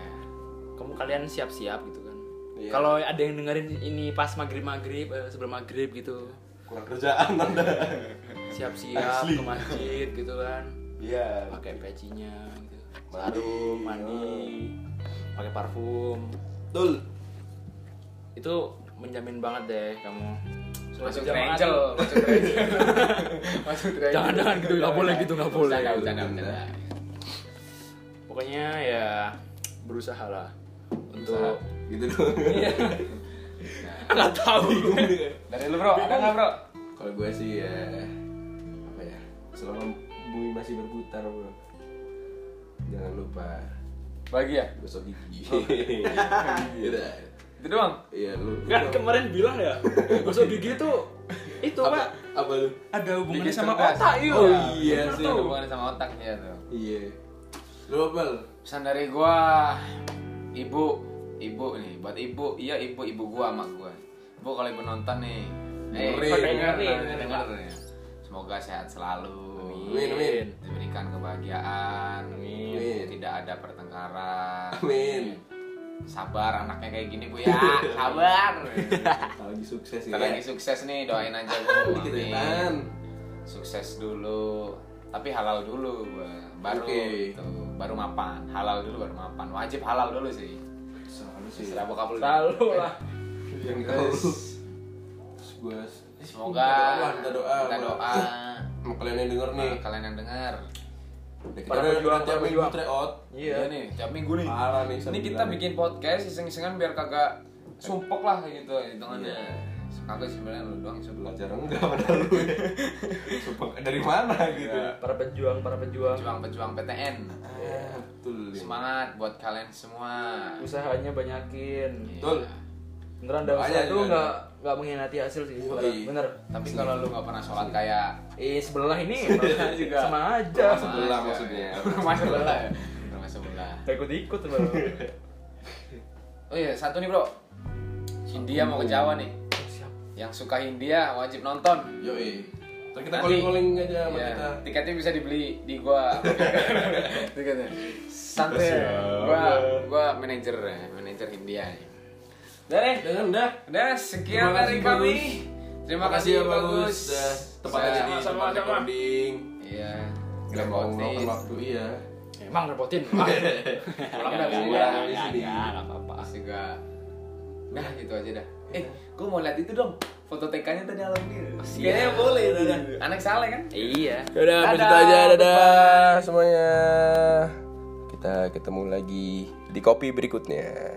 S3: kamu kalian siap-siap gitu kan
S1: Iya.
S3: kalau ada yang dengerin ini pas maghrib maghrib eh, sebelum maghrib gitu
S1: Kurang kerjaan Anda.
S3: siap-siap ke masjid gitu kan
S1: Iya.
S3: pakai pecinya gitu
S1: Mandi.
S3: sarung
S2: iya.
S3: mandi pakai parfum
S1: Betul.
S3: itu menjamin banget deh kamu
S2: Masuk
S3: Jamaah
S2: Angel,
S3: tuh.
S2: masuk Angel. Masuk Angel.
S3: Jangan, jangan gitu, nggak boleh gitu, nggak boleh.
S2: Bercanda, bercanda, bercanda.
S3: pokoknya ya berusaha lah untuk
S1: Gitu doang.
S3: nggak tahu
S2: Dari lu bro, ada nggak bro?
S1: Kalau gue sih ya apa ya? Selama bumi masih berputar, Bro. Jangan lupa
S2: Bahagia.
S1: gosok gigi. Iya. dah.
S2: Itu doang.
S1: Iya, lu. lu
S3: kan
S1: dong.
S3: kemarin bilang ya gosok gigi itu itu
S1: apa?
S3: pak
S1: Apa lu?
S3: ada hubungannya
S2: Gigi
S3: sama
S2: cerdas.
S3: otak iya
S1: Oh, iya sih,
S3: Bener
S2: Itu
S3: tuh.
S2: hubungannya sama otak ya tuh.
S1: Iya. Lu apa? Lu?
S2: Pesan dari gua, ibu, ibu nih, buat ibu, iya ibu, ibu gua sama gua. Ibu kalau ibu nonton nih, eh,
S1: Dengerin.
S2: ibu denger,
S3: Dengerin.
S2: denger, denger ya. Semoga sehat selalu.
S1: Amin, amin.
S2: Diberikan kebahagiaan.
S1: Amin.
S2: Tidak ada pertengkaran.
S1: Amin.
S2: Sabar anaknya kayak gini bu ya, sabar.
S1: Kita lagi sukses ya.
S2: Kita lagi sukses nih, doain aja Bu.
S1: Dikit
S2: Amin.
S1: enakan.
S2: Sukses dulu, tapi halal dulu, Bu. baru
S1: Oke.
S2: gitu. baru mapan. Halal dulu baru mapan. Wajib halal dulu sih.
S1: Selalu sih.
S2: Istilah bokap lu.
S3: selalu lah
S1: Yang
S2: Terus,
S1: gue
S2: semoga
S1: kita eh, doa,
S2: kita doa.
S1: Sama kalian yang denger nih.
S2: Nih, kalian yang dengar.
S1: Kita
S3: Para
S1: udah- udah
S3: pejuang,
S1: tiap
S3: para
S1: minggu
S3: pejuang.
S1: tryout.
S2: Iya nih, tiap minggu nih.
S1: Parah nih,
S2: Ini
S1: sambil
S2: kita
S1: bilang.
S2: bikin podcast iseng-isengan biar kagak sumpek lah kayak gitu hitungannya.
S1: Iya.
S2: Kagak sih sebenarnya lu doang yang sebelah.
S1: belajar enggak pada lu ya Sumpah, dari mana gitu
S2: Iya.
S4: para pejuang para pejuang
S2: Pejuang-pejuang PTN.
S1: Ah, betul ya.
S2: Semangat buat kalian semua.
S4: usahanya banyakin
S1: betul
S2: Iya.
S4: beneran dah usaha
S1: Doanya
S4: tuh
S1: juga
S4: nggak nggak mengkhianati hasil sih
S1: Woi.
S4: bener
S2: Tapi kalau lu nggak pernah
S1: Iya.
S2: sholat kayak
S4: eh sebelah ini sebelah
S1: juga.
S4: sama aja
S1: Sama sebelah
S2: aja,
S1: maksudnya.
S2: ya. Rumah sebelah. ya. Rumah sebelah.
S4: Gak ikut-ikut baru
S2: Oh iya, satu nih, Bro. Hindia mau ke Jawa nih.
S4: Siap.
S2: Yang suka Hindia wajib nonton.
S1: yoi Ntar kita
S2: Nanti-
S1: calling-calling aja sama
S2: Iya,
S1: kita
S2: tiketnya bisa dibeli di gua. tiketnya. Santai. ya.
S1: Siap.
S2: Gua gua manajer ya, manajer Hindia. nih. Udah deh.
S1: Dengan dah
S2: Udah sekian
S1: Terima
S2: dari
S1: kasih,
S2: kami.
S1: Bagus.
S2: Terima kasih
S1: ya
S2: bagus.
S1: Dah, Tempatnya
S2: Saya-
S1: jadi tempat recording
S2: Iya.
S1: Gak mau
S2: Repotin.
S1: ngeluangin waktu, iya
S3: Emang repotin. Ah,
S2: Pulang
S1: Nggak
S4: Iya,
S2: dah,
S1: mau
S2: udah.
S1: ngeluangin di sini.
S3: Iya, nggak apa-apa.
S2: Terus juga Nah gitu aja dah Eh gue mau lihat itu dong Foto TK nya tadi alam dia Kayaknya boleh dadah Oh, Anak saleh kan
S3: Iya.
S1: Yaudah,
S2: Dadah,
S1: sampai situ aja. Dadah
S2: goodbye.
S1: semuanya. Kita ketemu lagi di kopi berikutnya.